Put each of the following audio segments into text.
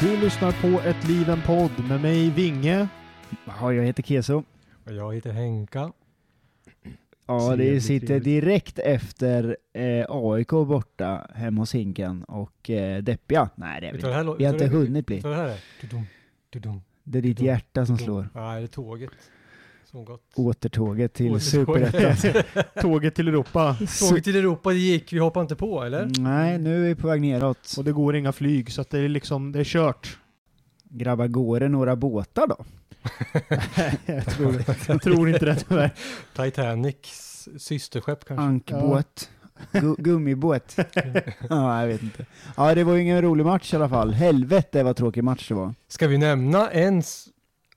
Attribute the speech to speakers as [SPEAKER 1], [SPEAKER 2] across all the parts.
[SPEAKER 1] Du lyssnar på Ett liv, en podd med mig Vinge.
[SPEAKER 2] Ja, jag heter Keso.
[SPEAKER 3] Och jag heter Henka.
[SPEAKER 2] Ja, det
[SPEAKER 3] Trevligt,
[SPEAKER 2] sitter
[SPEAKER 3] trevligt.
[SPEAKER 2] direkt efter eh, AIK borta hemma hos Hinken och eh, deppiga. Nej, det är vi
[SPEAKER 3] Vet
[SPEAKER 2] inte.
[SPEAKER 3] du vad det här lå-
[SPEAKER 2] Vi har
[SPEAKER 3] vet du
[SPEAKER 2] inte
[SPEAKER 3] vad det-
[SPEAKER 2] hunnit bli.
[SPEAKER 3] Vet du vad det här är? Tudum, tudum,
[SPEAKER 2] Det är ditt
[SPEAKER 3] Dum,
[SPEAKER 2] hjärta som
[SPEAKER 3] tudum.
[SPEAKER 2] slår.
[SPEAKER 3] Nej, det är tåget. Som gått.
[SPEAKER 2] Återtåget till
[SPEAKER 3] Återtåget.
[SPEAKER 2] Superettan.
[SPEAKER 1] Tåget till Europa.
[SPEAKER 3] Tåget till Europa det gick, vi hoppar inte på eller?
[SPEAKER 2] Mm, Nej, nu är vi på väg neråt.
[SPEAKER 1] Och det går inga flyg så att det är liksom, det är kört.
[SPEAKER 2] Grabbar, går det några båtar då? jag tror det.
[SPEAKER 1] Jag tror inte det tyvärr.
[SPEAKER 3] Titanics systerskepp kanske?
[SPEAKER 2] Ankbåt. Gu- gummibåt. ja, jag vet inte. Ja, det var ju ingen rolig match i alla fall. Helvete vad tråkig match det var.
[SPEAKER 3] Ska vi nämna ens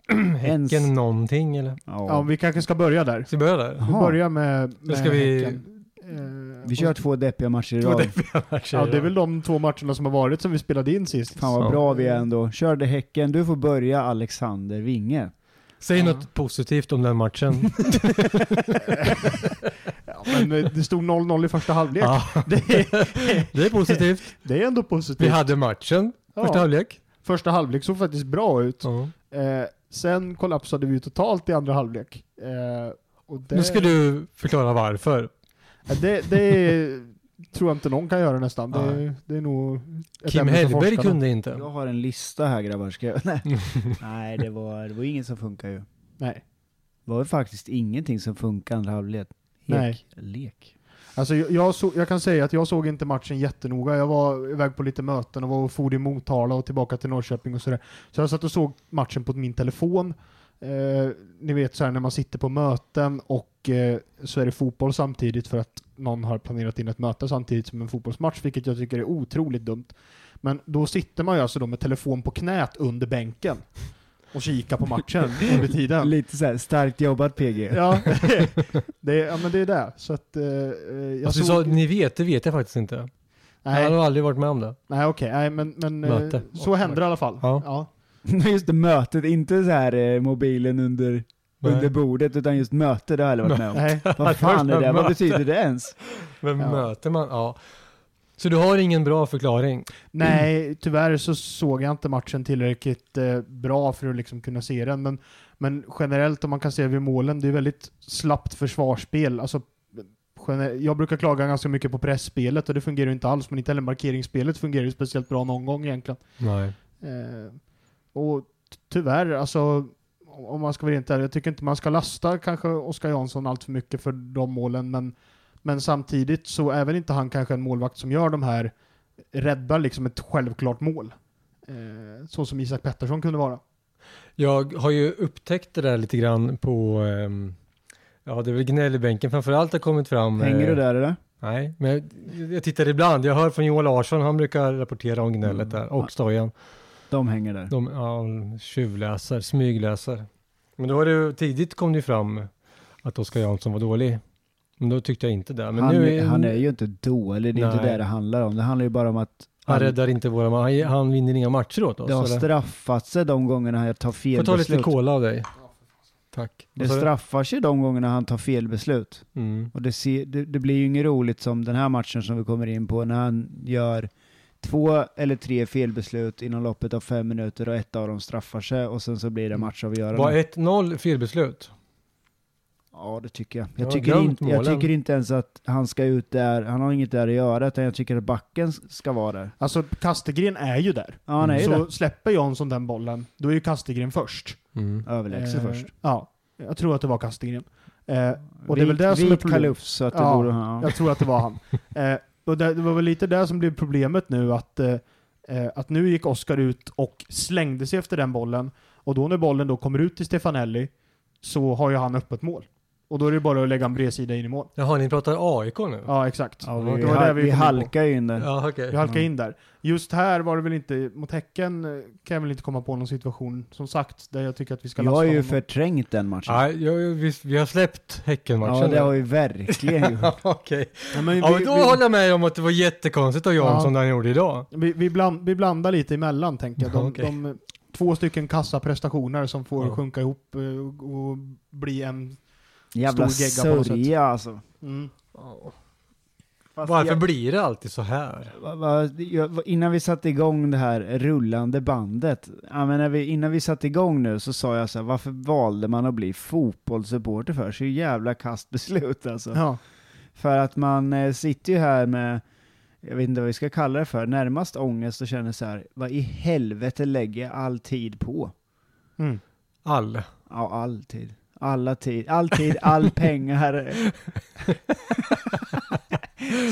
[SPEAKER 3] Häcken
[SPEAKER 2] Ens-
[SPEAKER 3] någonting eller?
[SPEAKER 1] Ja, vi kanske ska börja där.
[SPEAKER 3] Ska vi börja där?
[SPEAKER 1] Vi
[SPEAKER 2] Jaha.
[SPEAKER 1] börjar med,
[SPEAKER 3] Eller
[SPEAKER 1] med
[SPEAKER 3] ska vi-
[SPEAKER 1] Häcken. Eh,
[SPEAKER 2] Vi kör två deppiga matcher i
[SPEAKER 3] Två
[SPEAKER 2] rad.
[SPEAKER 3] deppiga matcher.
[SPEAKER 1] Ja, det är väl de två matcherna som har varit som vi spelade in sist.
[SPEAKER 2] Fan vad
[SPEAKER 3] Så.
[SPEAKER 2] bra vi är ändå. Körde Häcken, du får börja Alexander Winge.
[SPEAKER 3] Säg
[SPEAKER 1] Ja.
[SPEAKER 3] något positivt om den matchen.
[SPEAKER 1] Ja, men eh, det stod 0-0 i första halvlek.
[SPEAKER 3] Ja,
[SPEAKER 1] Det,
[SPEAKER 3] det är positivt.
[SPEAKER 1] det är ändå
[SPEAKER 3] Vi
[SPEAKER 1] positivt.
[SPEAKER 3] hade matchen, första
[SPEAKER 1] ja,
[SPEAKER 3] halvlek.
[SPEAKER 1] första halvlek såg faktiskt bra ut.
[SPEAKER 3] Ja.
[SPEAKER 1] Eh, sen kollapsade vi ju totalt i andra halvlek. Eh, och det,
[SPEAKER 3] Nu ska du förklara varför.
[SPEAKER 1] Ja, det, det är, tror jag inte någon kan göra nästan.
[SPEAKER 3] Nej.
[SPEAKER 1] Det, det är nog ett
[SPEAKER 3] Kim
[SPEAKER 1] ämne för
[SPEAKER 3] Hellberg
[SPEAKER 1] forskarna.
[SPEAKER 3] kunde inte.
[SPEAKER 2] Jag har en lista här grabbar, ska jag... Nej, Nej det, var, det var ingen som funkar ju. Det
[SPEAKER 1] Nej.
[SPEAKER 2] var ju faktiskt ingenting som funkade andra halvlek. Lek. Lek.
[SPEAKER 1] Alltså, jag, jag, såg- jag kan säga att jag såg inte matchen jättenoga. Jag var iväg på lite möten och var och for i Motala och tillbaka till Norrköping och sådär. Så jag satt och såg matchen på min telefon. Eh, ni vet så här när man sitter på möten och eh, så är det fotboll samtidigt för att någon har planerat in ett möte samtidigt som en fotbollsmatch, vilket jag tycker är otroligt dumt. Men då sitter man ju alltså då med telefon på knät under bänken och kikar på matchen under tiden.
[SPEAKER 2] Lite såhär starkt jobbat PG.
[SPEAKER 1] Ja, det är, ja men det är det. Så att, eh, jag
[SPEAKER 3] Alltså, du
[SPEAKER 1] såg...
[SPEAKER 3] sa, ni vet, det vet jag faktiskt inte. Jag
[SPEAKER 1] nej,
[SPEAKER 3] har aldrig varit med om det.
[SPEAKER 1] nej okej, nej, men, men eh,
[SPEAKER 3] Möte.
[SPEAKER 1] så hände det i alla fall.
[SPEAKER 3] Ja.
[SPEAKER 2] Just det, mötet, inte så här eh, mobilen under,
[SPEAKER 3] Nej.
[SPEAKER 2] under bordet, utan just möte, det har jag aldrig varit med om.
[SPEAKER 1] Nej,
[SPEAKER 2] Vad fan är det? Vad
[SPEAKER 3] Möte.
[SPEAKER 2] betyder det ens?
[SPEAKER 3] Men
[SPEAKER 1] Ja.
[SPEAKER 3] möter man, ja. Så du har ingen bra förklaring?
[SPEAKER 1] nej, tyvärr så såg jag inte matchen tillräckligt eh, bra för att liksom kunna se den. Men, men generellt om man kan se vid målen, det är väldigt slappt försvarsspel. Alltså, gener- jag brukar klaga ganska mycket på pressspelet och det fungerar ju inte alls, men inte heller markeringsspelet fungerar ju speciellt bra någon gång egentligen.
[SPEAKER 3] Nej.
[SPEAKER 1] Eh, och ty- tyvärr, alltså om man ska vara rent ärlig, jag tycker inte man ska lasta kanske Oskar Jansson allt för mycket för de målen, men, men samtidigt så är väl inte han kanske en målvakt som gör de här, räddar liksom ett självklart mål. Eh, så som Isak Pettersson kunde vara.
[SPEAKER 3] Jag har ju upptäckt det där lite grann på, ehm, ja det är väl gnäll i bänken framförallt har kommit fram.
[SPEAKER 2] Hänger du
[SPEAKER 3] eh,
[SPEAKER 2] där eller?
[SPEAKER 3] Nej, men jag, jag tittar ibland. Jag hör från Johan Larsson, han brukar rapportera om gnället där och Stojan.
[SPEAKER 2] De hänger där.
[SPEAKER 3] De ja, tjuvläser, smygläser. Men då har det, tidigt kom det ju fram att Oskar Jansson var dålig. Men då tyckte jag inte det. Men
[SPEAKER 2] han,
[SPEAKER 3] nu
[SPEAKER 2] är, han är ju inte dålig, det är inte
[SPEAKER 3] Nej.
[SPEAKER 2] det det handlar om. Det handlar ju bara om att
[SPEAKER 3] Han räddar inte våra han, han vinner inga matcher åt oss.
[SPEAKER 2] Det har
[SPEAKER 3] eller?
[SPEAKER 2] straffat sig de gångerna han tar fel
[SPEAKER 3] Får ta lite
[SPEAKER 2] beslut.
[SPEAKER 3] cola av dig. Tack.
[SPEAKER 2] Det
[SPEAKER 3] Vad sa du?
[SPEAKER 2] straffar sig de gångerna han tar fel beslut.
[SPEAKER 3] Mm.
[SPEAKER 2] Och det, ser, det, det blir ju inget roligt som den här matchen som vi kommer in på när han gör två eller tre felbeslut inom loppet av fem minuter och ett av dem straffar sig och sen så blir det
[SPEAKER 3] Var
[SPEAKER 2] matchavgörande.
[SPEAKER 3] 1-0 felbeslut?
[SPEAKER 2] Ja, det tycker jag.
[SPEAKER 3] Jag
[SPEAKER 2] Jag
[SPEAKER 3] har
[SPEAKER 2] tycker,
[SPEAKER 3] glömt
[SPEAKER 2] inte, jag
[SPEAKER 3] målen.
[SPEAKER 2] tycker inte ens att han ska ut där, han har inget där att göra utan jag tycker att backen ska vara där.
[SPEAKER 1] Alltså Kastegren är ju där.
[SPEAKER 2] Ja, han är ju
[SPEAKER 1] så
[SPEAKER 2] där.
[SPEAKER 1] släpper Jansson den bollen, då är ju Kastegren först.
[SPEAKER 3] Mm.
[SPEAKER 2] Överlägsen
[SPEAKER 1] Eh,
[SPEAKER 2] först.
[SPEAKER 1] Ja. Jag tror att det var Kastgren. Eh, och det är
[SPEAKER 2] vit,
[SPEAKER 1] väl det som är
[SPEAKER 2] vit
[SPEAKER 1] problemet.
[SPEAKER 2] kalufs så att det
[SPEAKER 1] Ja,
[SPEAKER 2] borde ha.
[SPEAKER 1] Jag tror att det var han. Eh, och det, det var väl lite det som blev problemet nu att, eh, eh, att nu gick Oskar ut och slängde sig efter den bollen och då när bollen då kommer ut till Stefanelli så har ju han öppet mål. Och då är det bara att lägga en bredsida in i mål.
[SPEAKER 3] Jaha, ni pratar AIK nu?
[SPEAKER 1] Ja, exakt.
[SPEAKER 2] Ja,
[SPEAKER 3] det
[SPEAKER 2] vi,
[SPEAKER 3] var
[SPEAKER 2] hal-
[SPEAKER 1] där vi
[SPEAKER 2] vi
[SPEAKER 1] kom in på.
[SPEAKER 2] halkar ju in där.
[SPEAKER 3] ja okej.
[SPEAKER 1] Vi halkar
[SPEAKER 2] Mm.
[SPEAKER 1] in där. Just här var det väl inte, mot Häcken eh, kan jag väl inte komma på någon situation, som sagt, där jag tycker att vi ska
[SPEAKER 2] Jag har
[SPEAKER 1] lasta
[SPEAKER 2] ju
[SPEAKER 1] honom.
[SPEAKER 2] förträngt den matchen.
[SPEAKER 3] Nej, jag, jag, vi, vi har släppt Häckenmatchen.
[SPEAKER 2] Ja, det
[SPEAKER 3] nu.
[SPEAKER 2] har vi verkligen gjort.
[SPEAKER 3] Okej.
[SPEAKER 1] Ja, men vi,
[SPEAKER 3] Ja, men då
[SPEAKER 1] vi,
[SPEAKER 3] håller jag med om att det var jättekonstigt av Jan
[SPEAKER 1] Ja.
[SPEAKER 3] som han gjorde idag.
[SPEAKER 1] vi, vi, bland, vi blandar lite emellan tänker jag. De,
[SPEAKER 3] Ja, okej.
[SPEAKER 1] de två stycken kassa prestationer som får
[SPEAKER 3] Ja.
[SPEAKER 1] sjunka ihop eh, och, och bli en...
[SPEAKER 2] Jävla
[SPEAKER 1] gegga på något sätt.
[SPEAKER 2] sörja alltså.
[SPEAKER 1] Mm.
[SPEAKER 2] Fast
[SPEAKER 3] Varför
[SPEAKER 2] jag-
[SPEAKER 3] blir det alltid så här?
[SPEAKER 2] Va- va- jag- va- Innan vi satte igång det här rullande bandet, ja, men när vi, innan vi satte igång nu så sa jag så här, varför valde man att bli fotbollssupporter för? Så jävla kast beslut alltså.
[SPEAKER 1] Ja.
[SPEAKER 2] För att man eh, sitter ju här med, jag vet inte vad vi ska kalla det för, närmast ångest och känner så här, vad i helvete lägger jag all tid på?
[SPEAKER 1] Mm.
[SPEAKER 3] All.
[SPEAKER 2] Ja, all tid. Alla tid, all tid, all pengar.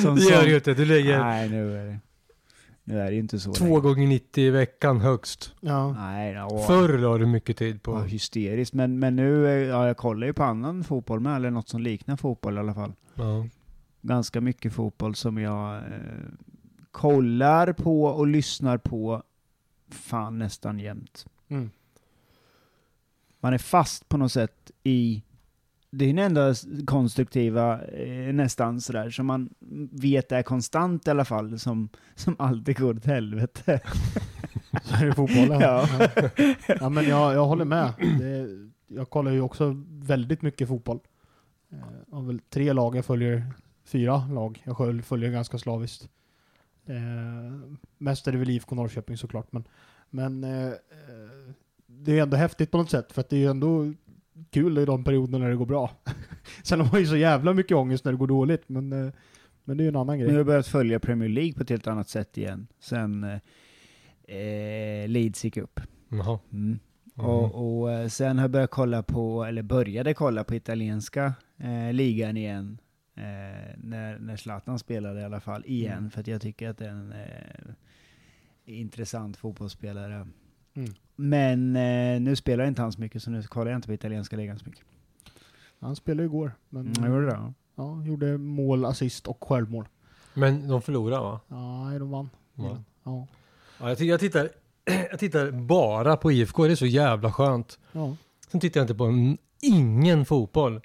[SPEAKER 2] Som
[SPEAKER 3] Det
[SPEAKER 2] sån-
[SPEAKER 3] gör ju inte. Du lägger
[SPEAKER 2] Nej, nu är det. Nu är det ju inte så
[SPEAKER 3] två
[SPEAKER 2] längre.
[SPEAKER 3] gånger 90 i veckan högst.
[SPEAKER 1] Ja.
[SPEAKER 2] Nej, ja,
[SPEAKER 3] Förr la du mycket tid
[SPEAKER 2] ja,
[SPEAKER 3] på.
[SPEAKER 2] hysteriskt. Men, men nu, eh, ja, jag kollar ju på annan fotboll med, eller något som liknar fotboll i alla fall.
[SPEAKER 3] Ja.
[SPEAKER 2] Ganska mycket fotboll som jag eh, kollar på och lyssnar på fan nästan jämt.
[SPEAKER 1] Mm.
[SPEAKER 2] Man är fast på något sätt i det är den enda s- konstruktiva, eh, nästan sådär, som man vet är konstant i alla fall, som, som alltid går åt helvete.
[SPEAKER 1] Så är det fotbollen.
[SPEAKER 2] Ja.
[SPEAKER 1] ja men jag, jag håller med. Det, jag kollar ju också väldigt mycket fotboll. Eh, Jag har väl tre lag jag följer, fyra lag jag själv följer ganska slaviskt. Eh, mest är det väl IFK Norrköping såklart, men, men eh, eh, det är ändå häftigt på något sätt för att det är ju ändå kul i de perioderna när det går bra. Sen har man ju så jävla mycket ångest när det går dåligt, men, eh, men det är ju en annan
[SPEAKER 2] Nu har
[SPEAKER 1] grej.
[SPEAKER 2] jag börjat följa Premier League på ett helt annat sätt igen, sen eh, eh, Leeds gick upp.
[SPEAKER 3] Jaha.
[SPEAKER 2] Mm.
[SPEAKER 3] Mhm.
[SPEAKER 2] Och, och eh, sen har jag börjat kolla på, eller började kolla på italienska eh, ligan igen. Eh, när, när Zlatan spelade i alla fall, igen.
[SPEAKER 1] Mm.
[SPEAKER 2] För att jag tycker att det är en eh, intressant fotbollsspelare.
[SPEAKER 1] Mm.
[SPEAKER 2] Men eh, nu spelar inte han så mycket, så nu kollar jag inte på italienska ligan så mycket.
[SPEAKER 1] Han spelade ju igår, men
[SPEAKER 2] Mm. Gjorde det? ja.
[SPEAKER 1] ja, gjorde mål, assist och självmål.
[SPEAKER 3] Men de förlorar va?
[SPEAKER 1] Nej, de vann.
[SPEAKER 3] Ja.
[SPEAKER 1] Ja.
[SPEAKER 3] Ja, jag, ti- jag, tittar, jag tittar bara på IFK, det är så jävla skönt.
[SPEAKER 1] ja.
[SPEAKER 3] Sen tittar jag inte på n- ingen fotboll.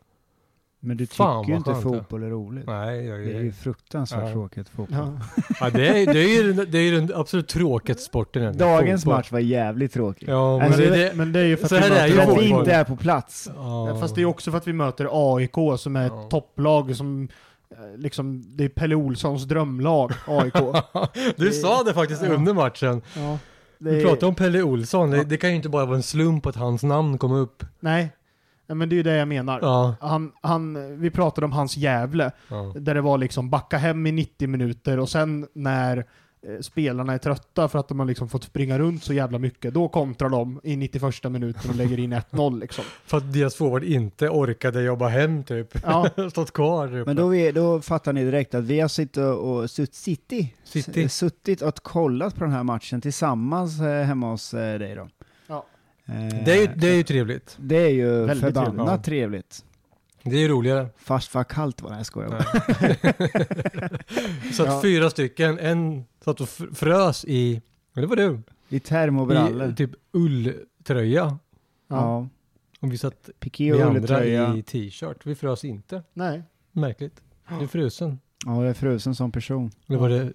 [SPEAKER 2] Men du
[SPEAKER 3] Fan,
[SPEAKER 2] tycker ju
[SPEAKER 3] vad
[SPEAKER 2] inte
[SPEAKER 3] skönt det.
[SPEAKER 2] fotboll är roligt.
[SPEAKER 3] Nej, jag,
[SPEAKER 2] Det är ju fruktansvärt
[SPEAKER 3] Ja.
[SPEAKER 2] tråkigt fotboll.
[SPEAKER 1] ja.
[SPEAKER 3] ja, det, är, det, är ju, den- det är ju den absolut tråkigaste sporten. egentligen,
[SPEAKER 2] Dagens
[SPEAKER 3] fotboll.
[SPEAKER 2] match var jävligt tråkig.
[SPEAKER 3] Ja, men
[SPEAKER 1] Men,
[SPEAKER 2] Alltså,
[SPEAKER 3] det,
[SPEAKER 1] det,
[SPEAKER 3] det,
[SPEAKER 1] men det är ju för att
[SPEAKER 3] så här
[SPEAKER 1] vi
[SPEAKER 3] är
[SPEAKER 1] möter
[SPEAKER 3] ju
[SPEAKER 2] För att
[SPEAKER 3] fotboll.
[SPEAKER 2] vi
[SPEAKER 1] AIK.
[SPEAKER 2] inte är på plats.
[SPEAKER 3] ja.
[SPEAKER 1] Fast det är också för att vi möter AIK som är ett
[SPEAKER 3] Ja.
[SPEAKER 1] topplag som eh, liksom, det är Pelle Olssons drömlag, AIK.
[SPEAKER 3] Du sa det faktiskt
[SPEAKER 1] Ja.
[SPEAKER 3] under matchen.
[SPEAKER 1] ja.
[SPEAKER 3] Vi
[SPEAKER 1] är-
[SPEAKER 3] pratade om Pelle Olsson. Det, det kan ju inte bara vara en slump att hans namn kom upp.
[SPEAKER 1] Nej, Nej, men det är ju det jag menar.
[SPEAKER 3] Ja.
[SPEAKER 1] Han, han, vi pratade om hans Gävle,
[SPEAKER 3] Ja.
[SPEAKER 1] där det var liksom backa hem i 90 minuter och sen när eh, spelarna är trötta för att de har liksom fått springa runt så jävla mycket, då kontrar de i 91 minuten och lägger in 1-0 liksom.
[SPEAKER 3] För att deras forward inte orkade jobba hem typ.
[SPEAKER 1] Ja,
[SPEAKER 3] Stått kvar. Typ.
[SPEAKER 2] Men då, vi, då fattar ni direkt att vi har suttit och, och sutt, city,
[SPEAKER 3] City.
[SPEAKER 2] s- suttit och kollat på den här matchen tillsammans eh, hemma hos eh, dig då.
[SPEAKER 1] Ja.
[SPEAKER 2] Eh,
[SPEAKER 3] det, är, ju- det är ju trevligt.
[SPEAKER 2] det är ju
[SPEAKER 1] Väldigt
[SPEAKER 2] förbannat trevligt.
[SPEAKER 3] Det är ju roligare.
[SPEAKER 2] Fast vad kallt var det, jag skojar bara.
[SPEAKER 3] Så att
[SPEAKER 1] Ja.
[SPEAKER 3] fyra stycken, en satt och fr- frös i, eller var du?
[SPEAKER 2] I
[SPEAKER 3] I
[SPEAKER 2] termobrallor.
[SPEAKER 3] typ ulltröja.
[SPEAKER 1] ja.
[SPEAKER 2] Ja.
[SPEAKER 3] Och vi satt,
[SPEAKER 2] Piqué
[SPEAKER 3] vi
[SPEAKER 2] och
[SPEAKER 3] andra
[SPEAKER 2] ulltröja.
[SPEAKER 3] i t-shirt. Vi frös inte.
[SPEAKER 1] nej.
[SPEAKER 3] Märkligt. Du är frusen.
[SPEAKER 2] Ja, jag är frusen som person.
[SPEAKER 3] Eller var det,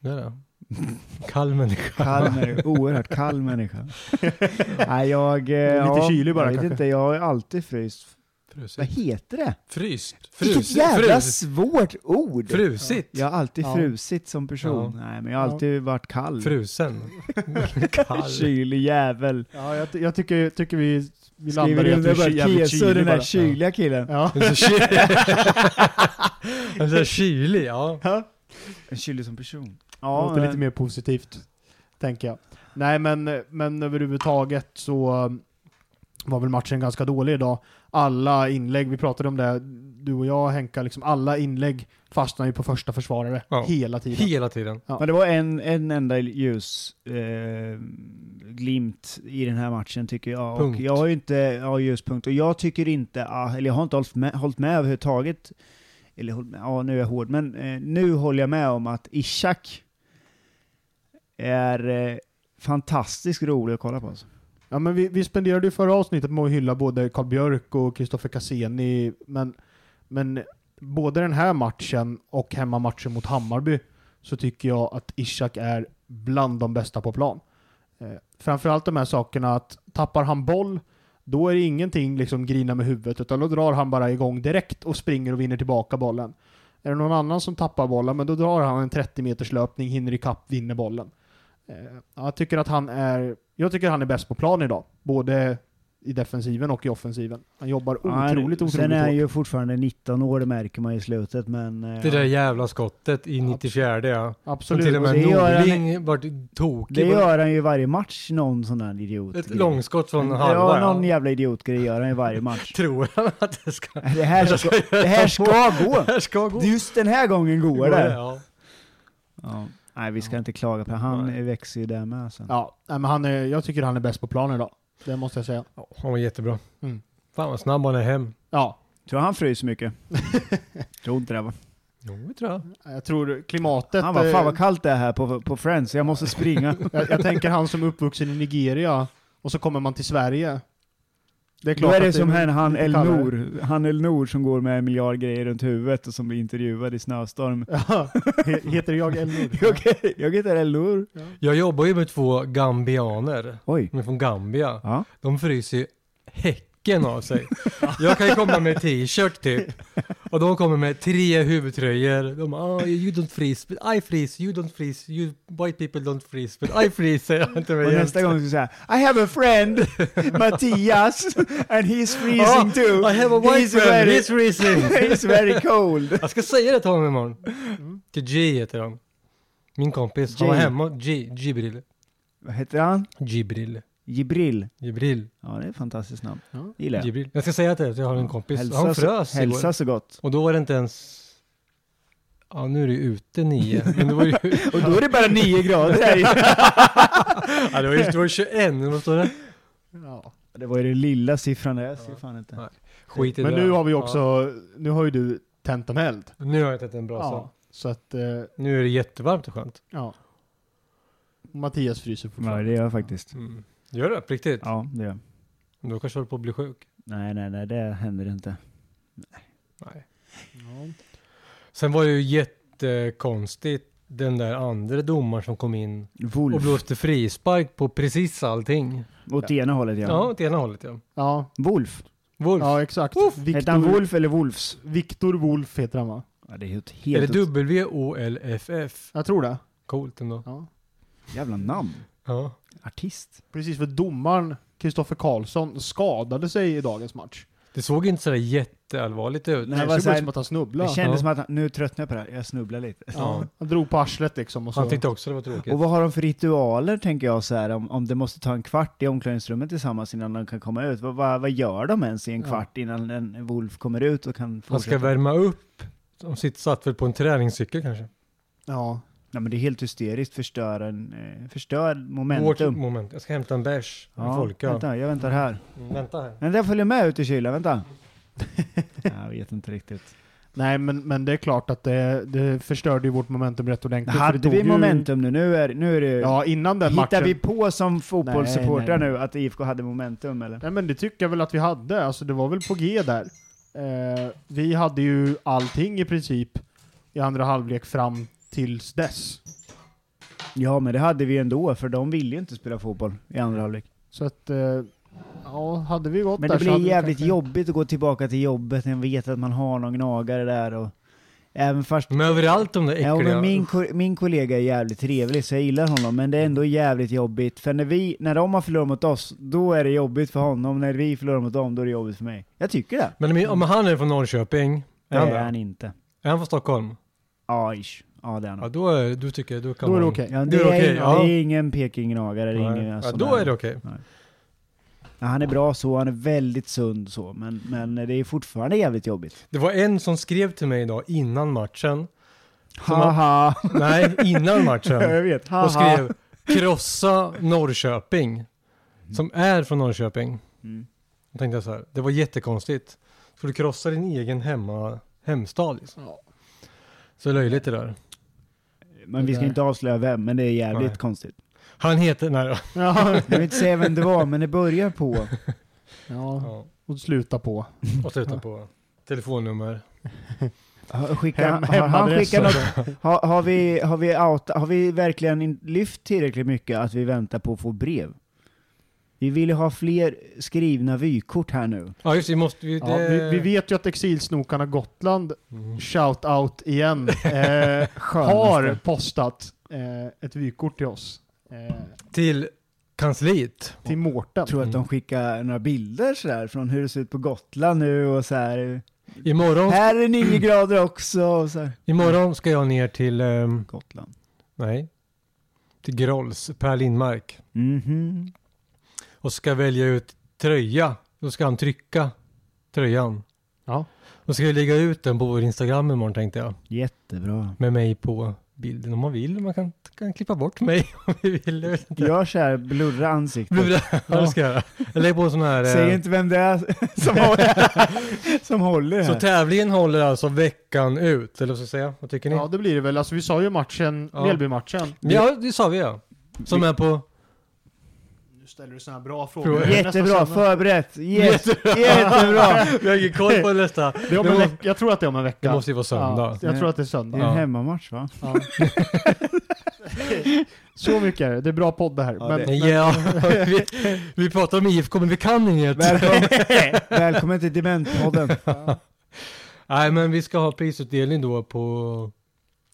[SPEAKER 3] där då? Kall människa.
[SPEAKER 2] Kall människa, oerhört kall människa. Nej, jag... eh, ja,
[SPEAKER 1] kylig bara
[SPEAKER 2] Jag vet
[SPEAKER 1] kanske.
[SPEAKER 2] inte, jag har ju alltid fryst. Vad
[SPEAKER 3] Frusit.
[SPEAKER 2] heter det?
[SPEAKER 3] Fryst.
[SPEAKER 2] Vilket
[SPEAKER 3] Frusit.
[SPEAKER 2] jävla
[SPEAKER 3] Frusit.
[SPEAKER 2] svårt ord!
[SPEAKER 3] Frusit.
[SPEAKER 2] Jag har alltid
[SPEAKER 1] Ja.
[SPEAKER 2] frusit som person. Nej, men jag har
[SPEAKER 1] Ja.
[SPEAKER 2] alltid varit kall.
[SPEAKER 3] Frusen. Kall.
[SPEAKER 2] Kylig jävel.
[SPEAKER 1] Ja, jag, ty- jag tycker, tycker vi, vi
[SPEAKER 2] Skriver
[SPEAKER 1] landar i
[SPEAKER 2] du
[SPEAKER 1] att du
[SPEAKER 2] under
[SPEAKER 1] är ky-
[SPEAKER 2] bara
[SPEAKER 1] jävligt
[SPEAKER 2] Keso,
[SPEAKER 1] kylig
[SPEAKER 2] den här
[SPEAKER 1] bara.
[SPEAKER 2] kyliga killen?
[SPEAKER 1] Ja.
[SPEAKER 3] Den är så kylig. Den är så kylig, ja.
[SPEAKER 2] Kylig som person.
[SPEAKER 1] Ja,
[SPEAKER 2] Ja, eh,
[SPEAKER 1] låter lite mer positivt, tänker jag. Nej, men, men överhuvudtaget så um, var väl matchen ganska dålig idag. Alla inlägg, vi pratade om det, du och jag Henka, liksom alla inlägg fastnar ju på första försvarare
[SPEAKER 3] Ja.
[SPEAKER 1] hela tiden.
[SPEAKER 3] Hela tiden.
[SPEAKER 1] Ja.
[SPEAKER 2] Men det var en, en enda ljus eh, glimt i den här matchen tycker jag.
[SPEAKER 3] Punkt.
[SPEAKER 2] Och jag har ju inte, ja just punkt. Och jag tycker inte, ah, eller jag har inte hållit med, hållit med överhuvudtaget. Eller hållit med, ja nu är jag hård, men eh, nu håller jag med om att Ishak är eh, fantastiskt rolig att kolla på. Alltså.
[SPEAKER 1] Ja, men vi, vi spenderade ju förra avsnittet med att hylla både Karl Björk och Kristoffer Cassini, men, men både den här matchen och hemmamatchen mot Hammarby så tycker jag att Ishak är bland de bästa på plan. Eh, framförallt de här sakerna att tappar han boll, då är det ingenting liksom grina med huvudet, utan då drar han bara igång direkt och springer och vinner tillbaka bollen. Är det någon annan som tappar bollen, men då drar han en 30 meters löpning, hinner ikapp, vinner bollen. Eh, Jag tycker att han är, jag tycker han är bäst på plan idag. Både i defensiven och i offensiven. Han jobbar
[SPEAKER 2] Han-
[SPEAKER 1] otroligt, otroligt
[SPEAKER 2] Sen är han
[SPEAKER 1] hårt.
[SPEAKER 2] ju fortfarande 19 år, det märker man i slutet, men... eh,
[SPEAKER 3] Det där jävla skottet i 94 ja. Som
[SPEAKER 1] Absolut.
[SPEAKER 3] till och med
[SPEAKER 2] Det gör han-
[SPEAKER 3] Norling vart tokig.
[SPEAKER 2] Det
[SPEAKER 3] på-
[SPEAKER 2] gör han ju i varje match, någon sån där idiot.
[SPEAKER 3] Ett långskott från halva.
[SPEAKER 2] Ja, någon
[SPEAKER 3] ja.
[SPEAKER 2] jävla idiotgrej gör han i varje match.
[SPEAKER 3] Tror han att det ska...
[SPEAKER 2] Det här ska, det här ska gå!
[SPEAKER 3] Det här ska gå.
[SPEAKER 2] Just den här gången går det.
[SPEAKER 3] Ja.
[SPEAKER 2] Ja. Nej, vi ska inte klaga på det. Han
[SPEAKER 3] Nej.
[SPEAKER 2] växer ju där med alltså. sen.
[SPEAKER 1] Ja, nej, men han är, jag tycker han är bäst på planen idag. Det måste jag säga.
[SPEAKER 3] Ja, Han var jättebra.
[SPEAKER 1] Mm.
[SPEAKER 3] Fan vad snabb han är hem.
[SPEAKER 1] Ja,
[SPEAKER 2] Tror han fryser mycket? Tror inte det va?
[SPEAKER 3] Jo, det tror jag.
[SPEAKER 1] jag tror klimatet...
[SPEAKER 2] Han bara,
[SPEAKER 1] eh,
[SPEAKER 2] fan vad kallt det är här på, på Friends, jag måste springa.
[SPEAKER 1] jag, jag tänker han som är uppvuxen i Nigeria och så kommer man till Sverige. Det är
[SPEAKER 2] Då
[SPEAKER 1] klart
[SPEAKER 2] är det
[SPEAKER 1] att
[SPEAKER 2] som han, han
[SPEAKER 1] lite kallare.
[SPEAKER 2] Elnor, han Elnor som går med en miljard grejer runt huvudet och som blir intervjuad i snöstorm.
[SPEAKER 1] Ja, he- heter jag Elnor?
[SPEAKER 2] Jag, jag heter Elnor.
[SPEAKER 3] Jag jobbar ju med två gambianer.
[SPEAKER 2] Oj.
[SPEAKER 3] De är från Gambia.
[SPEAKER 2] Ja.
[SPEAKER 3] De fryser ju häcken av sig. Jag kan ju komma med t-shirt typ. Och de kommer med tre huvudtröjor. De bara, oh, you don't freeze, but I freeze, you don't freeze, you white people don't freeze, but I freeze. säger han till mig
[SPEAKER 2] Och
[SPEAKER 3] jämt.
[SPEAKER 2] nästa gång ska jag säga I have a friend, Mattias, and he's freezing
[SPEAKER 3] Ah,
[SPEAKER 2] too.
[SPEAKER 3] I have a white
[SPEAKER 2] He's
[SPEAKER 3] friend,
[SPEAKER 2] very-
[SPEAKER 3] he's freezing.
[SPEAKER 2] He's very cold.
[SPEAKER 3] Jag ska säga det till honom imorgon. Till G heter han. Min kompis. Han var
[SPEAKER 2] G.
[SPEAKER 3] hemma. G. Gibril.
[SPEAKER 2] Vad heter han?
[SPEAKER 3] Gibril.
[SPEAKER 2] Jibril.
[SPEAKER 3] Gibril.
[SPEAKER 2] Ja, det är ett fantastiskt namn.
[SPEAKER 1] Ja.
[SPEAKER 2] Gillar jag.
[SPEAKER 3] Gibril. Jag ska säga till dig att jag har en kompis. han
[SPEAKER 2] så-
[SPEAKER 3] frös
[SPEAKER 2] Hälsa
[SPEAKER 3] igår.
[SPEAKER 2] så gott.
[SPEAKER 3] Och då var det inte ens... Ja, nu är det ju ute nio. Men det var ju...
[SPEAKER 2] Och då är det bara nio grader här inne.
[SPEAKER 3] ja, det var ju det var ju 21. Vad står det?
[SPEAKER 1] Ja.
[SPEAKER 2] Det var ju den lilla siffran där, jag ser fan inte.
[SPEAKER 3] Nej. Skit i
[SPEAKER 1] Men
[SPEAKER 3] det.
[SPEAKER 1] nu har vi också,
[SPEAKER 3] Ja.
[SPEAKER 1] nu har ju du tänt dem eld.
[SPEAKER 3] Nu har jag tänt en brasa.
[SPEAKER 1] Ja, så att, eh,
[SPEAKER 3] Nu är det jättevarmt och skönt.
[SPEAKER 1] ja. Mattias fryser
[SPEAKER 2] Ja,
[SPEAKER 1] fortfarande.
[SPEAKER 2] det gör jag faktiskt.
[SPEAKER 3] Mm. Gör det? På riktigt?
[SPEAKER 2] Ja, det gör jag.
[SPEAKER 3] Då kanske jag håller på att bli sjuk.
[SPEAKER 2] Nej, nej, nej, det händer inte.
[SPEAKER 3] Nej.
[SPEAKER 1] Ja.
[SPEAKER 3] Sen var det ju jättekonstigt den där andra domaren som kom in och
[SPEAKER 2] Wolf.
[SPEAKER 3] blåste frispark på precis allting.
[SPEAKER 2] Åt ena hållet
[SPEAKER 3] Ja,
[SPEAKER 2] ja.
[SPEAKER 3] åt ena hållet ja.
[SPEAKER 1] Ja,
[SPEAKER 2] Wolf.
[SPEAKER 3] Wolf.
[SPEAKER 1] ja exakt.
[SPEAKER 2] Hette han
[SPEAKER 1] Viktor
[SPEAKER 2] Wolf eller Wolfs?
[SPEAKER 1] Victor Wolf heter han va?
[SPEAKER 2] Ja, det är ju ett
[SPEAKER 3] är det
[SPEAKER 2] helt ett
[SPEAKER 3] W-O-L-F-F?
[SPEAKER 1] Jag tror det.
[SPEAKER 3] Coolt ändå.
[SPEAKER 1] Ja.
[SPEAKER 2] jävla namn.
[SPEAKER 3] Ja.
[SPEAKER 2] Artist.
[SPEAKER 1] Precis, för domaren Kristoffer Karlsson skadade sig i dagens match.
[SPEAKER 3] Det såg inte sådär jätteallvarligt ut.
[SPEAKER 2] Nej,
[SPEAKER 1] Nej,
[SPEAKER 2] vad
[SPEAKER 1] det såg ut
[SPEAKER 2] säger-
[SPEAKER 1] som att han
[SPEAKER 2] Det
[SPEAKER 1] snubblade.
[SPEAKER 2] kändes
[SPEAKER 3] Ja.
[SPEAKER 2] som att han, nu tröttnar jag på det här, jag snubblar lite.
[SPEAKER 1] Ja. Han drog på arslet liksom. Och så.
[SPEAKER 3] Han tyckte också det var tråkigt.
[SPEAKER 2] Och vad har de för ritualer tänker jag så här, om, om det måste ta en kvart i omklädningsrummet tillsammans innan de kan komma ut? Vad, vad, vad gör de ens i en
[SPEAKER 1] Ja.
[SPEAKER 2] kvart innan en Wolf kommer ut och kan
[SPEAKER 3] Han ska
[SPEAKER 2] fortsätta?
[SPEAKER 3] värma upp. De sitter, satt väl på en träningscykel kanske.
[SPEAKER 1] Ja.
[SPEAKER 2] Ja, men det är helt hysteriskt, förstör, en, eh, förstör
[SPEAKER 3] Vårt
[SPEAKER 2] momentum.
[SPEAKER 3] moment. Jag ska hämta en bärs.
[SPEAKER 2] Ja,
[SPEAKER 3] Ja, folka. Vänta.
[SPEAKER 2] Vänta, jag väntar här.
[SPEAKER 3] Mm, vänta här.
[SPEAKER 2] Men jag följer med ut i kylan, vänta. jag vet inte riktigt.
[SPEAKER 1] Nej, men, men det är klart att det, det förstörde ju vårt momentum rätt ordentligt. för det
[SPEAKER 2] Hade
[SPEAKER 1] tog
[SPEAKER 2] vi
[SPEAKER 1] ju-
[SPEAKER 2] momentum nu? Nu är, nu är det...
[SPEAKER 1] Ja, innan den
[SPEAKER 2] Hittar
[SPEAKER 1] matchen.
[SPEAKER 2] vi på som fotbollssupportrar
[SPEAKER 1] Nej, nej,
[SPEAKER 2] nu att IFK hade momentum eller?
[SPEAKER 1] Nej, men det tycker jag väl att vi hade. Alltså, det var väl på G där. Eh, vi hade ju allting i princip i andra halvlek fram tills dess.
[SPEAKER 2] Ja, men det hade vi ändå, för de ville ju inte spela fotboll i andra halvlek.
[SPEAKER 1] Så att, eh, ja, hade vi gått
[SPEAKER 2] Men
[SPEAKER 1] där så
[SPEAKER 2] det blir
[SPEAKER 1] hade vi
[SPEAKER 2] jävligt
[SPEAKER 1] kanske-
[SPEAKER 2] jobbigt att gå tillbaka till jobbet när man vet att man har någon gnagare där och... Även fast...
[SPEAKER 3] Men överallt de där äckliga.
[SPEAKER 2] Ja, men min, ko- min kollega är jävligt trevlig så jag gillar honom, men det är ändå jävligt jobbigt. För när, vi, när de har förlorat mot oss, då är det jobbigt för honom. När vi förlorar mot dem, då är det jobbigt för mig. Jag tycker det.
[SPEAKER 3] Men om- om han är från Norrköping.
[SPEAKER 2] Det
[SPEAKER 3] Är han,
[SPEAKER 2] är
[SPEAKER 3] där?
[SPEAKER 2] han inte.
[SPEAKER 3] är han från Stockholm?
[SPEAKER 2] Ja, ish. Ja, det är han.
[SPEAKER 3] Ja, då, är, då tycker jag då kan
[SPEAKER 1] Då är det
[SPEAKER 3] man...
[SPEAKER 1] okej.
[SPEAKER 2] Ja,
[SPEAKER 3] det
[SPEAKER 2] det,
[SPEAKER 3] är
[SPEAKER 2] är
[SPEAKER 3] okej,
[SPEAKER 2] ingen,
[SPEAKER 3] ja.
[SPEAKER 2] det är ingen Peking-gnagare. det är
[SPEAKER 3] Nej.
[SPEAKER 2] ingen
[SPEAKER 3] Ja,
[SPEAKER 2] sån
[SPEAKER 3] då
[SPEAKER 2] här-
[SPEAKER 3] är det okej.
[SPEAKER 2] Nej. Ja, han är bra så, han är väldigt sund så, men, men det är fortfarande jävligt jobbigt.
[SPEAKER 3] Det var en som skrev till mig idag innan matchen. Som han-
[SPEAKER 2] Haha!
[SPEAKER 3] Nej, innan matchen.
[SPEAKER 2] Jag vet,
[SPEAKER 3] Och
[SPEAKER 2] haha!
[SPEAKER 3] skrev krossa Norrköping. Som är från Norrköping.
[SPEAKER 2] Mm.
[SPEAKER 3] Då tänkte jag så här, det var jättekonstigt. Ska du krossa din egen hemma, hemstad liksom?
[SPEAKER 1] Ja.
[SPEAKER 3] Så löjligt det där.
[SPEAKER 2] Men vi ska
[SPEAKER 1] Det där.
[SPEAKER 2] inte avslöja vem, men det är jävligt
[SPEAKER 3] Nej.
[SPEAKER 2] konstigt.
[SPEAKER 3] Han heter, nej då.
[SPEAKER 1] Ja.
[SPEAKER 2] Jag vill inte säga vem det var, men det börjar på...
[SPEAKER 1] ja,
[SPEAKER 3] ja.
[SPEAKER 1] och sluta på.
[SPEAKER 3] Och sluta på telefonnummer.
[SPEAKER 2] Har- Skicka,
[SPEAKER 1] Hem-
[SPEAKER 2] har han
[SPEAKER 1] hemadress
[SPEAKER 2] skickat något? Har, har, vi, har, vi out, har vi verkligen in- lyft tillräckligt mycket att vi väntar på att få brev? Vi vill ju ha fler skrivna vykort här nu.
[SPEAKER 3] Ja just det, vi måste vi,
[SPEAKER 1] Ja,
[SPEAKER 3] det...
[SPEAKER 1] vi, vi vet ju att exilsnokarna Gotland,
[SPEAKER 3] Mm.
[SPEAKER 1] shout out igen, eh, har postat eh, ett vykort till oss. Eh,
[SPEAKER 3] Till kansliet.
[SPEAKER 1] till Mårten.
[SPEAKER 2] Jag tror att de skickar några bilder sådär från hur det ser ut på Gotland nu och så här.
[SPEAKER 3] Imorgon,
[SPEAKER 2] Här är nio grader också och så här.
[SPEAKER 3] imorgon ska jag ner till, ehm,
[SPEAKER 2] Gotland.
[SPEAKER 3] nej, till Grolls, Per Lindmark.
[SPEAKER 2] Mhm.
[SPEAKER 3] Och ska välja ut tröja. Då ska han trycka tröjan.
[SPEAKER 1] Ja.
[SPEAKER 3] Då ska jag lägga ut den på vår Instagram imorgon tänkte jag.
[SPEAKER 2] Jättebra.
[SPEAKER 3] Med mig på bilden om man vill. Man kan, kan klippa bort mig om vi vill. Jag vet inte.
[SPEAKER 2] Gör så här, blurra ansiktet.
[SPEAKER 3] Blir det- Ja. det ska jag göra. Jag lägger på en sån här. eh,
[SPEAKER 2] Säg inte vem det är som håller, som håller
[SPEAKER 3] Så
[SPEAKER 2] här.
[SPEAKER 3] tävlingen håller alltså veckan ut, eller vad ska jag säga? Vad tycker ni?
[SPEAKER 1] Ja, det blir det väl. Alltså, vi sa ju matchen,
[SPEAKER 3] Ja.
[SPEAKER 1] Mjällby-matchen.
[SPEAKER 3] Ja, det sa vi ja. Som är på...
[SPEAKER 1] Nu ställer du såna här bra
[SPEAKER 3] Tror
[SPEAKER 1] frågor.
[SPEAKER 3] jag.
[SPEAKER 1] Det är nästan
[SPEAKER 2] Jättebra,
[SPEAKER 1] som-
[SPEAKER 2] förberett. Yes. Jättebra.
[SPEAKER 3] Vi har ingen koll på nästa.
[SPEAKER 1] Det är om
[SPEAKER 3] Det
[SPEAKER 1] en
[SPEAKER 3] må-
[SPEAKER 1] veck- jag tror att det är om en
[SPEAKER 3] Det
[SPEAKER 1] vecka.
[SPEAKER 3] måste ju vara söndag.
[SPEAKER 1] Ja, jag tror att det är söndag.
[SPEAKER 2] Det är en
[SPEAKER 3] Ja.
[SPEAKER 2] hemmamatch va?
[SPEAKER 1] Ja. Så mycket är det. Det är bra podd det här.
[SPEAKER 2] Ja,
[SPEAKER 1] men,
[SPEAKER 2] det-
[SPEAKER 1] men,
[SPEAKER 3] Ja, vi, vi pratar om IFK men vi kan inget.
[SPEAKER 2] Välkommen, välkommen till Dementpodden.
[SPEAKER 3] Nej, men vi ska ha prisutdelning då på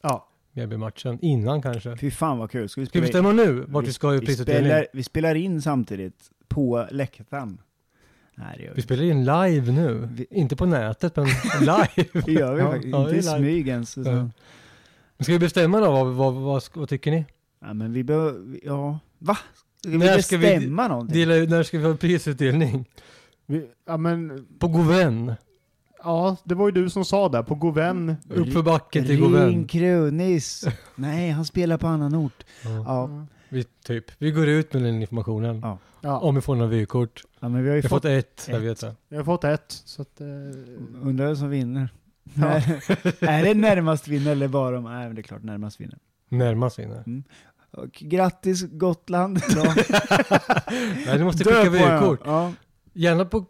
[SPEAKER 1] ja.
[SPEAKER 3] Mjällby-matchen innan kanske.
[SPEAKER 2] Fy fan vad kul. Ska vi
[SPEAKER 3] Ska vi
[SPEAKER 2] spela in?
[SPEAKER 3] bestämma nu vart vi ska ha
[SPEAKER 2] vi,
[SPEAKER 3] prisutdelning?
[SPEAKER 2] spelar, vi spelar in samtidigt på läktaren. Nej det gör
[SPEAKER 3] Vi
[SPEAKER 2] vi,
[SPEAKER 3] spelar in live nu.
[SPEAKER 2] Vi-
[SPEAKER 3] Inte på nätet, men live.
[SPEAKER 2] det gör vi
[SPEAKER 3] Ja,
[SPEAKER 2] faktiskt.
[SPEAKER 3] ja,
[SPEAKER 2] Inte
[SPEAKER 3] det
[SPEAKER 2] i
[SPEAKER 3] är live.
[SPEAKER 2] smyg ens. Så.
[SPEAKER 3] Ja. Ska vi bestämma då? Vad, vad, vad, ska- vad tycker ni?
[SPEAKER 2] Ja, men vi behöver, ja. Va? Ska vi
[SPEAKER 3] När ska vi
[SPEAKER 2] bestämma någonting?
[SPEAKER 3] Dela, ut- när ska vi ha prisutdelning?
[SPEAKER 1] Vi, ja, men
[SPEAKER 3] På Govän.
[SPEAKER 1] ja, det var ju du som sa det. På Govän.
[SPEAKER 2] Mm.
[SPEAKER 3] Uppför backen till
[SPEAKER 2] Ring
[SPEAKER 3] Govän.
[SPEAKER 2] Kronis. Nej, han spelar på annan ort.
[SPEAKER 3] Ja,
[SPEAKER 2] Ja,
[SPEAKER 3] vi, typ. vi går ut med den informationen.
[SPEAKER 2] Ja.
[SPEAKER 1] Ja,
[SPEAKER 3] Om vi får några vykort.
[SPEAKER 2] ja men vi har ju
[SPEAKER 3] Vi har
[SPEAKER 2] fått
[SPEAKER 3] fått ett, jag vet det.
[SPEAKER 1] jag har fått ett. Så att, eh,
[SPEAKER 2] Undrar vem som vinner. är det närmast vinner eller bara om... Nej, men det är klart närmast vinner.
[SPEAKER 3] Närmast vinner.
[SPEAKER 2] Och grattis Gotland! Ja.
[SPEAKER 3] Nej, du måste
[SPEAKER 2] Dö
[SPEAKER 3] skicka
[SPEAKER 2] på en.
[SPEAKER 3] vykort.
[SPEAKER 2] Ja.
[SPEAKER 3] Gärna på,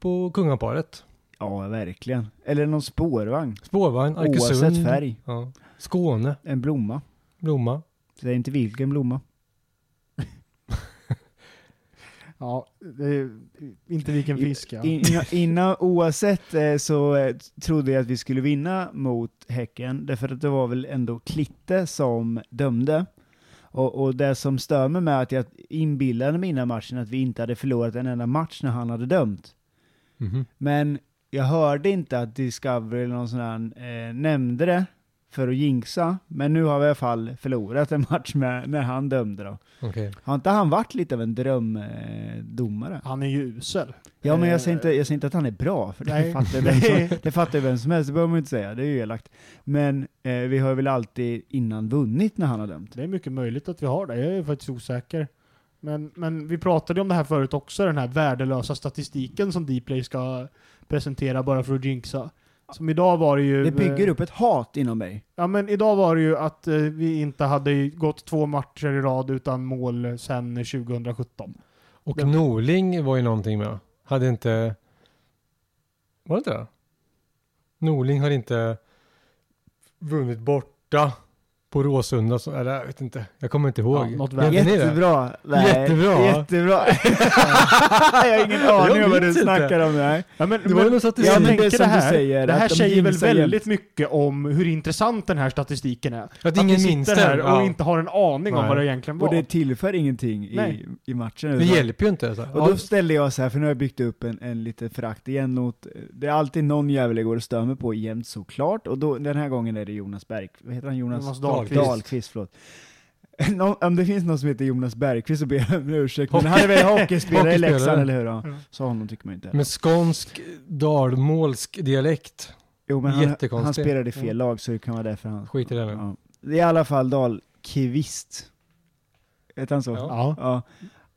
[SPEAKER 3] på kungaparet.
[SPEAKER 2] ja, verkligen. Eller någon spårvagn.
[SPEAKER 3] Spårvagn, Arkesund.
[SPEAKER 2] Oavsett färg.
[SPEAKER 3] Ja. Skåne,
[SPEAKER 2] En blomma.
[SPEAKER 3] Blomma.
[SPEAKER 2] Det är inte vilken blomma.
[SPEAKER 1] ja, det är inte vilken fisk. Ja.
[SPEAKER 2] In, innan- innan, oavsett eh, så eh, trodde jag att vi skulle vinna mot Häcken, därför att det var väl ändå Klitte som dömde. Och, och det som stör mig med att jag inbillade mig innan matchen att vi inte hade förlorat en enda match när han hade dömt.
[SPEAKER 3] Mhm.
[SPEAKER 2] Men jag hörde inte att Discovery eller någon sån här eh, nämnde det för att jinxa. Men nu har vi i alla fall förlorat en match med, när han dömde då.
[SPEAKER 3] Okej.
[SPEAKER 2] Har inte han varit lite av en drömdomare? Eh, domare?
[SPEAKER 1] Han är ju usel.
[SPEAKER 2] ja men jag säger, inte, jag säger inte att han är bra, för det
[SPEAKER 1] Nej.
[SPEAKER 2] fattar, ju vem som, det fattar ju vem som helst, det behöver man ju inte säga, det är ju elakt. Men eh, vi har väl alltid innan vunnit när han har dömt.
[SPEAKER 1] Det är mycket möjligt att vi har det. Jag är faktiskt osäker. Men, men vi pratade ju om det här förut också, den här värdelösa statistiken som Dplay ska presentera bara för att jinxa. Som idag var det ju... eh,
[SPEAKER 2] Det bygger upp ett hat inom mig.
[SPEAKER 1] Ja men idag var det ju att eh, vi inte hade gått två matcher i rad utan mål sedan 2017.
[SPEAKER 3] Och
[SPEAKER 1] Det-
[SPEAKER 3] Norling var ju någonting med. Hade inte... Var det inte det? Norling har inte vunnit borta på Råsunda. Så, eller jag vet inte. Jag kommer inte ihåg.
[SPEAKER 1] Ja, något
[SPEAKER 3] Vet ni det?
[SPEAKER 2] Jättebra! Nej,
[SPEAKER 3] Jättebra.
[SPEAKER 2] Jättebra! jag har ingen aning om vad du
[SPEAKER 3] minns inte.
[SPEAKER 2] snackar om. Nej.
[SPEAKER 1] Ja, men,
[SPEAKER 3] Det var ju något statistik.
[SPEAKER 1] jag
[SPEAKER 2] men det
[SPEAKER 1] tänker
[SPEAKER 2] som
[SPEAKER 1] det
[SPEAKER 2] du
[SPEAKER 1] här,
[SPEAKER 2] säger,
[SPEAKER 1] det här
[SPEAKER 2] att de
[SPEAKER 1] säger väl
[SPEAKER 2] jinxar jämt.
[SPEAKER 1] väldigt mycket om hur intressant den här statistiken är.
[SPEAKER 3] Att ingen
[SPEAKER 1] vi sitter
[SPEAKER 3] minns
[SPEAKER 1] här
[SPEAKER 3] den.
[SPEAKER 1] och
[SPEAKER 3] Ja.
[SPEAKER 1] inte har en aning
[SPEAKER 3] Nej.
[SPEAKER 1] om vad det egentligen var.
[SPEAKER 2] Och det tillför ingenting i,
[SPEAKER 1] Nej.
[SPEAKER 2] i matchen.
[SPEAKER 3] Det
[SPEAKER 2] utan-
[SPEAKER 3] hjälper ju inte. Så. här.
[SPEAKER 2] Och då ställde jag så här, för nu har jag byggt upp en, en liten förakt igen mot, det är alltid någon jävel jag går och stör mig på jämt såklart, och då, den här gången är det Jonas Berg, vad heter han Jonas?
[SPEAKER 1] Jonas Dahlqvist.
[SPEAKER 2] Dahlqvist förlåt. Nå- Om det finns någon som heter Jonas Bergqvist så ber jag om ursäkt, men han är väl hockeyspelare i
[SPEAKER 3] Hockeyspelare.
[SPEAKER 2] Leksand, eller hur? Ja.
[SPEAKER 1] Ja.
[SPEAKER 2] Så honom tycker man ju inte.
[SPEAKER 3] Med skånsk dalmålsk dialekt.
[SPEAKER 2] jo, men han,
[SPEAKER 3] jättekonstigt.
[SPEAKER 2] han spelade i fel
[SPEAKER 3] Ja.
[SPEAKER 2] lag, så det kan vara därför han...
[SPEAKER 3] Skit i det nu.
[SPEAKER 2] Ja. Det är I alla fall Dahlqvist. Heter han så?
[SPEAKER 3] Ja.
[SPEAKER 1] Ja.
[SPEAKER 2] Ja.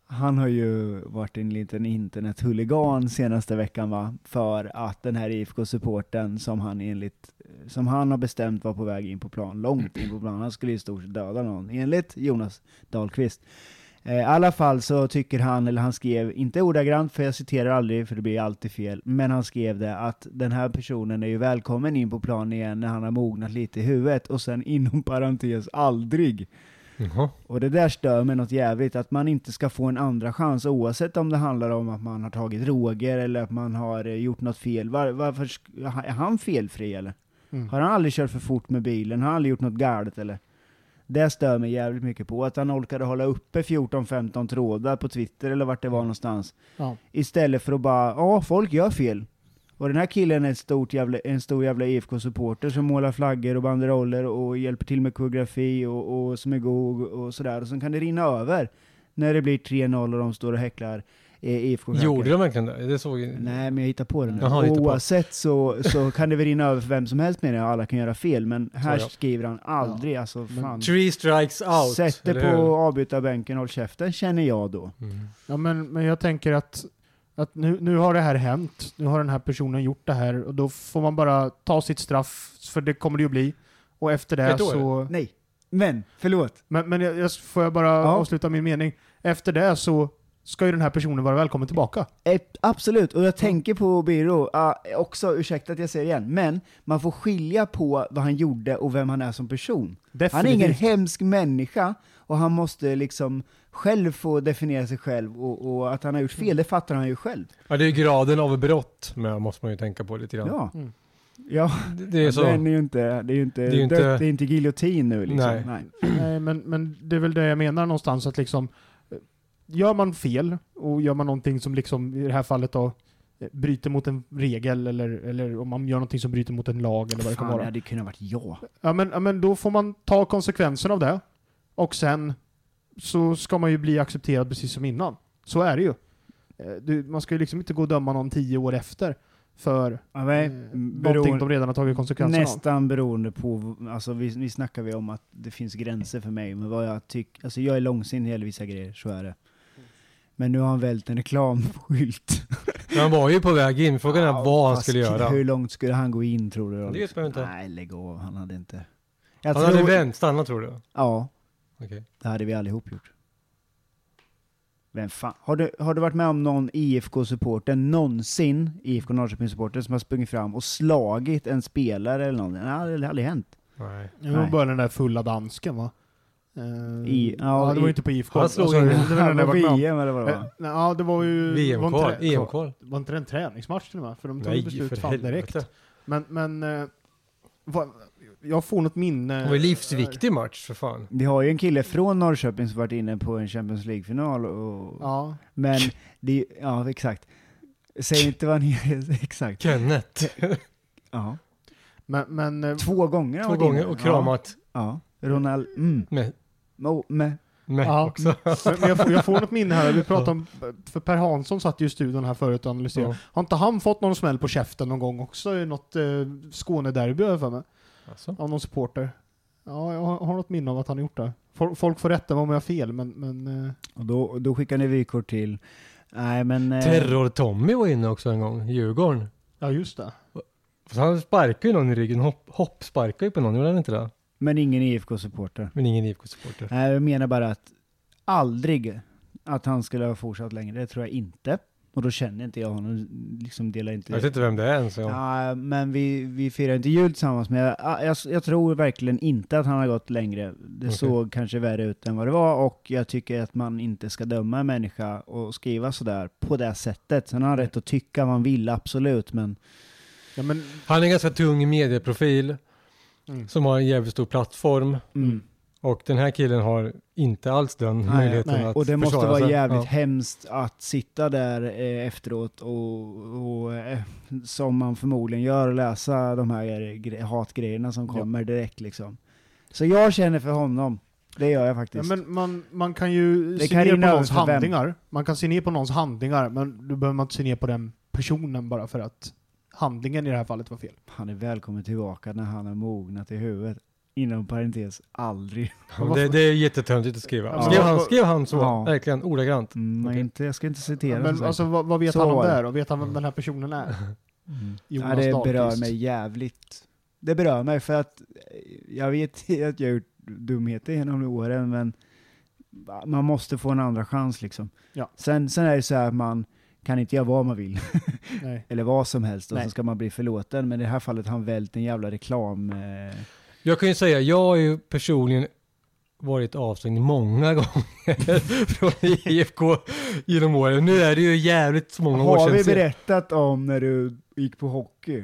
[SPEAKER 2] Han har ju varit en liten internethuligan senaste veckan va? För att den här IFK-supporten som han enligt, som han har bestämt var på väg in på plan, långt in på plan, han skulle i stort sett döda någon, enligt Jonas Dahlqvist. Eh, I alla fall så tycker han, eller han skrev, inte ordagrant för jag citerar aldrig för det blir alltid fel, men han skrev det att den här personen är ju välkommen in på plan igen när han har mognat lite i huvudet och sen inom parentes aldrig.
[SPEAKER 3] Jaha.
[SPEAKER 2] Och det där stör mig något jävligt, att man inte ska få en andra chans oavsett om det handlar om att man har tagit droger eller att man har eh, gjort något fel. Var, varför, sk- är han felfri eller?
[SPEAKER 1] Mm.
[SPEAKER 2] Har han aldrig kört för fort med bilen? Har han aldrig gjort något galet eller? Det stör mig jävligt mycket på, att han orkade hålla uppe 14-15 trådar på Twitter eller vart det var någonstans.
[SPEAKER 1] Ja.
[SPEAKER 2] Istället för att bara, ja folk gör fel. Och den här killen är ett stort jävla, en stor jävla IFK-supporter som målar flaggor och banderoller och hjälper till med koreografi och, och som är god och, och sådär. Och sen kan det rinna över när det blir 3-0 och de står och häcklar eh, ifk -klackar.
[SPEAKER 3] Gjorde de verkligen det? Det såg ju...
[SPEAKER 2] Nej, men jag hittar på det nu.
[SPEAKER 3] Jaha, du hittar på.
[SPEAKER 2] Oavsett så, så kan det väl rinna över för vem som helst menar jag, alla kan göra fel. Men här
[SPEAKER 3] Så ja.
[SPEAKER 2] skriver han aldrig, alltså
[SPEAKER 1] Men
[SPEAKER 2] fan.
[SPEAKER 3] Three strikes out.
[SPEAKER 2] Sätt dig
[SPEAKER 3] eller
[SPEAKER 2] på avbytarbänken, håll käften, känner jag då.
[SPEAKER 3] hur? Mm.
[SPEAKER 1] Ja, men, men jag tänker att, att nu, nu har det här hänt. Nu har den här personen gjort det här och då får man bara ta sitt straff, för det kommer det ju bli. Och efter det
[SPEAKER 3] Ett år?
[SPEAKER 1] så...
[SPEAKER 2] Nej, men förlåt.
[SPEAKER 1] Men, men jag, jag, får jag bara
[SPEAKER 2] Ja.
[SPEAKER 1] avsluta min mening? Efter det så ska ju den här personen vara välkommen tillbaka.
[SPEAKER 2] Eh, Absolut, och jag tänker på Biro, ah, också, ursäkta att jag säger det igen, men man får skilja på vad han gjorde och vem han är som person. Han är ingen hemsk människa och han måste liksom själv få definiera sig själv och, och att han har gjort fel, det fattar han ju själv.
[SPEAKER 3] Ja, det är ju graden av brott med, måste man ju tänka på lite grann.
[SPEAKER 2] Ja.
[SPEAKER 1] Mm.
[SPEAKER 2] Ja,
[SPEAKER 3] Det, det är så.
[SPEAKER 2] Den är ju inte, Alltså, det är ju inte,
[SPEAKER 3] är ju inte-
[SPEAKER 2] dött, det är inte giljotin nu liksom.
[SPEAKER 3] Nej.
[SPEAKER 2] Nej.
[SPEAKER 1] Nej, men, men det är väl det jag menar någonstans att liksom eh, gör man fel och gör man någonting som liksom i det här fallet då eh, bryter mot en regel eller, eller om man gör någonting som bryter mot en lag eller vad det kan
[SPEAKER 2] Fan, det
[SPEAKER 1] vara.
[SPEAKER 2] hade kunnat varit jag.
[SPEAKER 1] Ja men, ja men då får man ta konsekvensen av det och sen så ska man ju bli accepterad precis som innan. Så är det ju. Eh, Du, man ska ju liksom inte gå och döma någon tio år efter för
[SPEAKER 2] Ja,
[SPEAKER 1] eh,
[SPEAKER 2] nej,
[SPEAKER 1] någonting de redan har tagit konsekvensen av.
[SPEAKER 2] Mm, Nästan beroende på, alltså vi, vi snackar vi om att det finns gränser för mig, men vad jag tycker, alltså jag är långsint när det gäller vissa grejer, så är det. Men nu har han vält en reklamskylt.
[SPEAKER 3] Men han var ju på väg in. Frågan är
[SPEAKER 2] Ja,
[SPEAKER 3] vad han
[SPEAKER 2] fast
[SPEAKER 3] skulle göra.
[SPEAKER 2] Hur långt skulle han gå in tror du? då?
[SPEAKER 3] Det vet man ju inte.
[SPEAKER 2] Nej, lägg av, han hade inte. Jag
[SPEAKER 3] Han hade vänt, stannat tror du?
[SPEAKER 2] Ja,
[SPEAKER 3] Okej.
[SPEAKER 2] det hade vi allihop gjort. Vem fan? Har du, har du varit med om någon IFK-supporter, någonsin IFK Norrköping-supporter, som har sprungit fram och slagit en spelare eller någonting? Nej, det har aldrig hänt.
[SPEAKER 3] Nej.
[SPEAKER 1] Det var
[SPEAKER 2] Nej.
[SPEAKER 1] bara den där fulla dansken va? Eh,
[SPEAKER 2] I- ja,
[SPEAKER 1] ja, det var
[SPEAKER 2] i-
[SPEAKER 1] ju inte på IFK.
[SPEAKER 3] Han slog
[SPEAKER 1] Alltså,
[SPEAKER 3] in-
[SPEAKER 1] det var den jag
[SPEAKER 2] På
[SPEAKER 1] varit med om.
[SPEAKER 2] VM eller vad det var?
[SPEAKER 1] Eh, nej, Ja, det var ju... var inte
[SPEAKER 3] VM-kval?
[SPEAKER 1] det-
[SPEAKER 3] EM-kval?
[SPEAKER 1] Var inte det en träningsmatch till och med? För de tog ju
[SPEAKER 3] Nej, för
[SPEAKER 1] beslut fan direkt.
[SPEAKER 3] helvete.
[SPEAKER 1] Men, men... eh, vad- jag får något minne...
[SPEAKER 3] Det var ju livsviktig match för fan.
[SPEAKER 2] Vi har ju en kille från Norrköping som varit inne på en Champions League-final. Och,
[SPEAKER 1] Ja.
[SPEAKER 2] Men det är ju- ja exakt. Säg inte vad han heter, exakt.
[SPEAKER 3] Kenneth.
[SPEAKER 2] Ja.
[SPEAKER 1] Men, men eh,
[SPEAKER 2] Två gånger har han
[SPEAKER 3] Två
[SPEAKER 2] varit
[SPEAKER 3] gånger
[SPEAKER 2] inne.
[SPEAKER 3] och kramat
[SPEAKER 2] Ja. ja. Ronald, mm.
[SPEAKER 3] med,
[SPEAKER 2] Oh, med.
[SPEAKER 3] med
[SPEAKER 1] Ja.
[SPEAKER 3] också.
[SPEAKER 1] men jag, får, jag får något minne här. Vi pratade om... För Per Hansson satt ju i studion här förut och analyserade.
[SPEAKER 3] Ja.
[SPEAKER 1] Har inte han fått någon smäll på käften någon gång också i något eh, Skånederby har jag för mig?
[SPEAKER 3] Alltså.
[SPEAKER 1] Av någon supporter? Ja, jag har, har något minne av att han har gjort det. Folk, folk får rätta mig om jag har fel, men... men eh,
[SPEAKER 2] Och då, och då skickar ni vykort till, nej men... eh,
[SPEAKER 3] Terror-Tommy var inne också en gång, Djurgården.
[SPEAKER 1] ja, just det.
[SPEAKER 3] Fast han sparkade ju någon i ryggen, hopp, hopp sparkade ju på någon, gjorde han inte det?
[SPEAKER 2] Men ingen IFK-supporter.
[SPEAKER 3] Men ingen IFK-supporter.
[SPEAKER 2] Nej, jag menar bara att aldrig att han skulle ha fortsatt längre, det tror jag inte. Och då känner inte jag honom, liksom delar inte...
[SPEAKER 3] Jag vet inte vem det är ens. Ja.
[SPEAKER 2] Ja, men vi, vi firar inte jul tillsammans, men jag, jag, jag tror verkligen inte att han har gått längre. Det
[SPEAKER 3] Okej.
[SPEAKER 2] såg kanske värre ut än vad det var, och jag tycker att man inte ska döma en människa och skriva sådär på det sättet. Sen har han rätt att tycka vad han vill, absolut, men
[SPEAKER 1] Ja, men...
[SPEAKER 3] Han är en ganska tung medieprofil
[SPEAKER 1] Mm.
[SPEAKER 3] som har en jävligt stor plattform.
[SPEAKER 2] mm.
[SPEAKER 3] Och den här killen har inte alls den
[SPEAKER 2] Nej,
[SPEAKER 3] möjligheten
[SPEAKER 1] nej.
[SPEAKER 3] att
[SPEAKER 2] Och det måste
[SPEAKER 3] försvara
[SPEAKER 2] vara
[SPEAKER 3] sig.
[SPEAKER 2] jävligt
[SPEAKER 3] Ja.
[SPEAKER 2] hemskt att sitta där eh, efteråt och, och eh, som man förmodligen gör, och läsa de här gre- hatgrejerna som kommer direkt liksom. Så jag känner för honom. Det gör jag
[SPEAKER 1] Ja,
[SPEAKER 2] faktiskt.
[SPEAKER 1] men man, man kan ju
[SPEAKER 2] Det
[SPEAKER 1] se
[SPEAKER 2] kan
[SPEAKER 1] ner på
[SPEAKER 2] rinna
[SPEAKER 1] någons
[SPEAKER 2] över för vem.
[SPEAKER 1] handlingar. Man kan se ner på någons handlingar, men då behöver man inte se ner på den personen bara för att handlingen i det här fallet var fel.
[SPEAKER 2] Han är välkommen tillbaka när han har mognat i huvudet. Inom parentes, aldrig.
[SPEAKER 3] Ja, Det, det är jättetöntigt att skriva.
[SPEAKER 1] Ja.
[SPEAKER 3] Skrev han, skrev han så?
[SPEAKER 2] Ja.
[SPEAKER 3] Verkligen, ordagrant.
[SPEAKER 2] Mm,
[SPEAKER 3] Okej.
[SPEAKER 2] inte, jag ska inte
[SPEAKER 1] Ja,
[SPEAKER 2] citera.
[SPEAKER 1] men
[SPEAKER 2] som
[SPEAKER 1] alltså,
[SPEAKER 2] sagt.
[SPEAKER 1] vad, vad vet
[SPEAKER 2] Så
[SPEAKER 1] han om
[SPEAKER 2] var
[SPEAKER 1] det
[SPEAKER 2] det.
[SPEAKER 1] här? Och vet han vem den här personen är?
[SPEAKER 2] Mm.
[SPEAKER 1] Jonas
[SPEAKER 2] ja, det berör
[SPEAKER 1] Dahlqvist.
[SPEAKER 2] mig jävligt. Det berör mig för att eh, jag vet att jag har gjort dumheter genom åren, men man måste få en andra chans liksom.
[SPEAKER 1] Ja.
[SPEAKER 2] Sen, sen är det så här att man kan inte göra vad man vill,
[SPEAKER 1] Nej.
[SPEAKER 2] eller vad som helst, och
[SPEAKER 1] Nej.
[SPEAKER 2] så ska man bli förlåten. Men i det här fallet har han vält en jävla reklam... Eh,
[SPEAKER 3] Jag kan ju säga, jag har ju personligen varit avstängd många gånger från IFK genom åren. Nu är det ju jävligt många år
[SPEAKER 2] har
[SPEAKER 3] sedan.
[SPEAKER 2] vi
[SPEAKER 3] sen-
[SPEAKER 2] berättat om när du gick på hockey?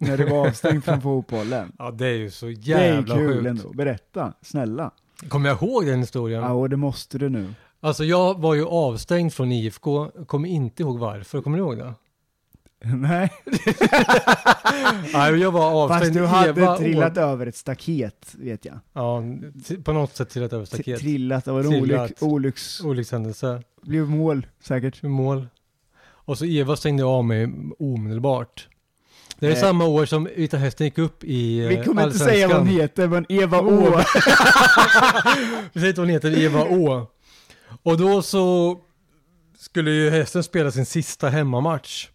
[SPEAKER 2] När du var avstängd från fotbollen?
[SPEAKER 3] Ja, det är ju så
[SPEAKER 2] det
[SPEAKER 3] jävla
[SPEAKER 2] är ju kul
[SPEAKER 3] sjukt.
[SPEAKER 2] ändå. Berätta, snälla.
[SPEAKER 3] Kommer jag ihåg den historien?
[SPEAKER 2] Ja, och det måste du nu.
[SPEAKER 3] Alltså jag var ju avstängd från IFK, kommer inte ihåg varför, kommer du ihåg det?
[SPEAKER 2] Nej,
[SPEAKER 3] Nej, men jag var avstängd.
[SPEAKER 2] fast du hade
[SPEAKER 3] Eva
[SPEAKER 2] trillat
[SPEAKER 3] Å-
[SPEAKER 2] över ett staket, vet jag.
[SPEAKER 3] Ja, t- på något sätt trillat över
[SPEAKER 2] T-
[SPEAKER 3] staket.
[SPEAKER 2] Trillat, det var en
[SPEAKER 3] Trillat.
[SPEAKER 2] olyck, olycks...
[SPEAKER 3] Olyckshändelse,
[SPEAKER 2] Blev mål, säkert.
[SPEAKER 3] mål. Och så Eva stängde av mig omedelbart. Det är
[SPEAKER 2] Nej.
[SPEAKER 3] samma år som Vita Hästen gick upp i eh,
[SPEAKER 2] Vi kommer inte säga vad hon heter, men Eva Å.
[SPEAKER 3] Å. Vi säger inte vad hon heter, Eva Å. Och då så skulle ju hästen spela sin sista hemmamatch.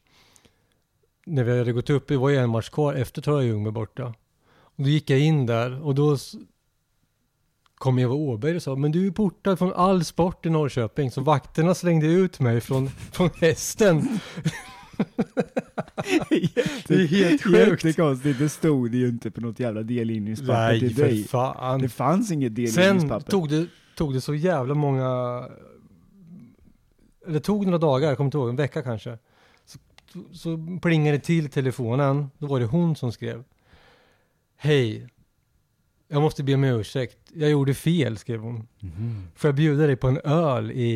[SPEAKER 3] När vi hade gått upp, det var ju en match kvar efter Törja Ljungby borta. Och då gick jag in där och då s- kom Eva Åberg och sa, men du är portad från all sport i Norrköping. Så vakterna slängde ut mig från, från hästen. Det är helt sjukt.
[SPEAKER 2] Jättekonstigt, det stod ju inte på något jävla delgivningspapper
[SPEAKER 3] Nej,
[SPEAKER 2] till
[SPEAKER 3] för
[SPEAKER 2] dig.
[SPEAKER 3] fan.
[SPEAKER 2] Det fanns inget
[SPEAKER 3] Sen
[SPEAKER 2] delgivningspapper.
[SPEAKER 3] tog det, tog det så jävla många... Det tog några dagar, jag kommer inte ihåg, en vecka kanske. Så, så plingade det till telefonen. Då var det hon som skrev. Hej. Jag måste be om ursäkt. Jag gjorde fel, skrev hon.
[SPEAKER 2] Mhm.
[SPEAKER 3] Får jag bjuda dig på en öl i,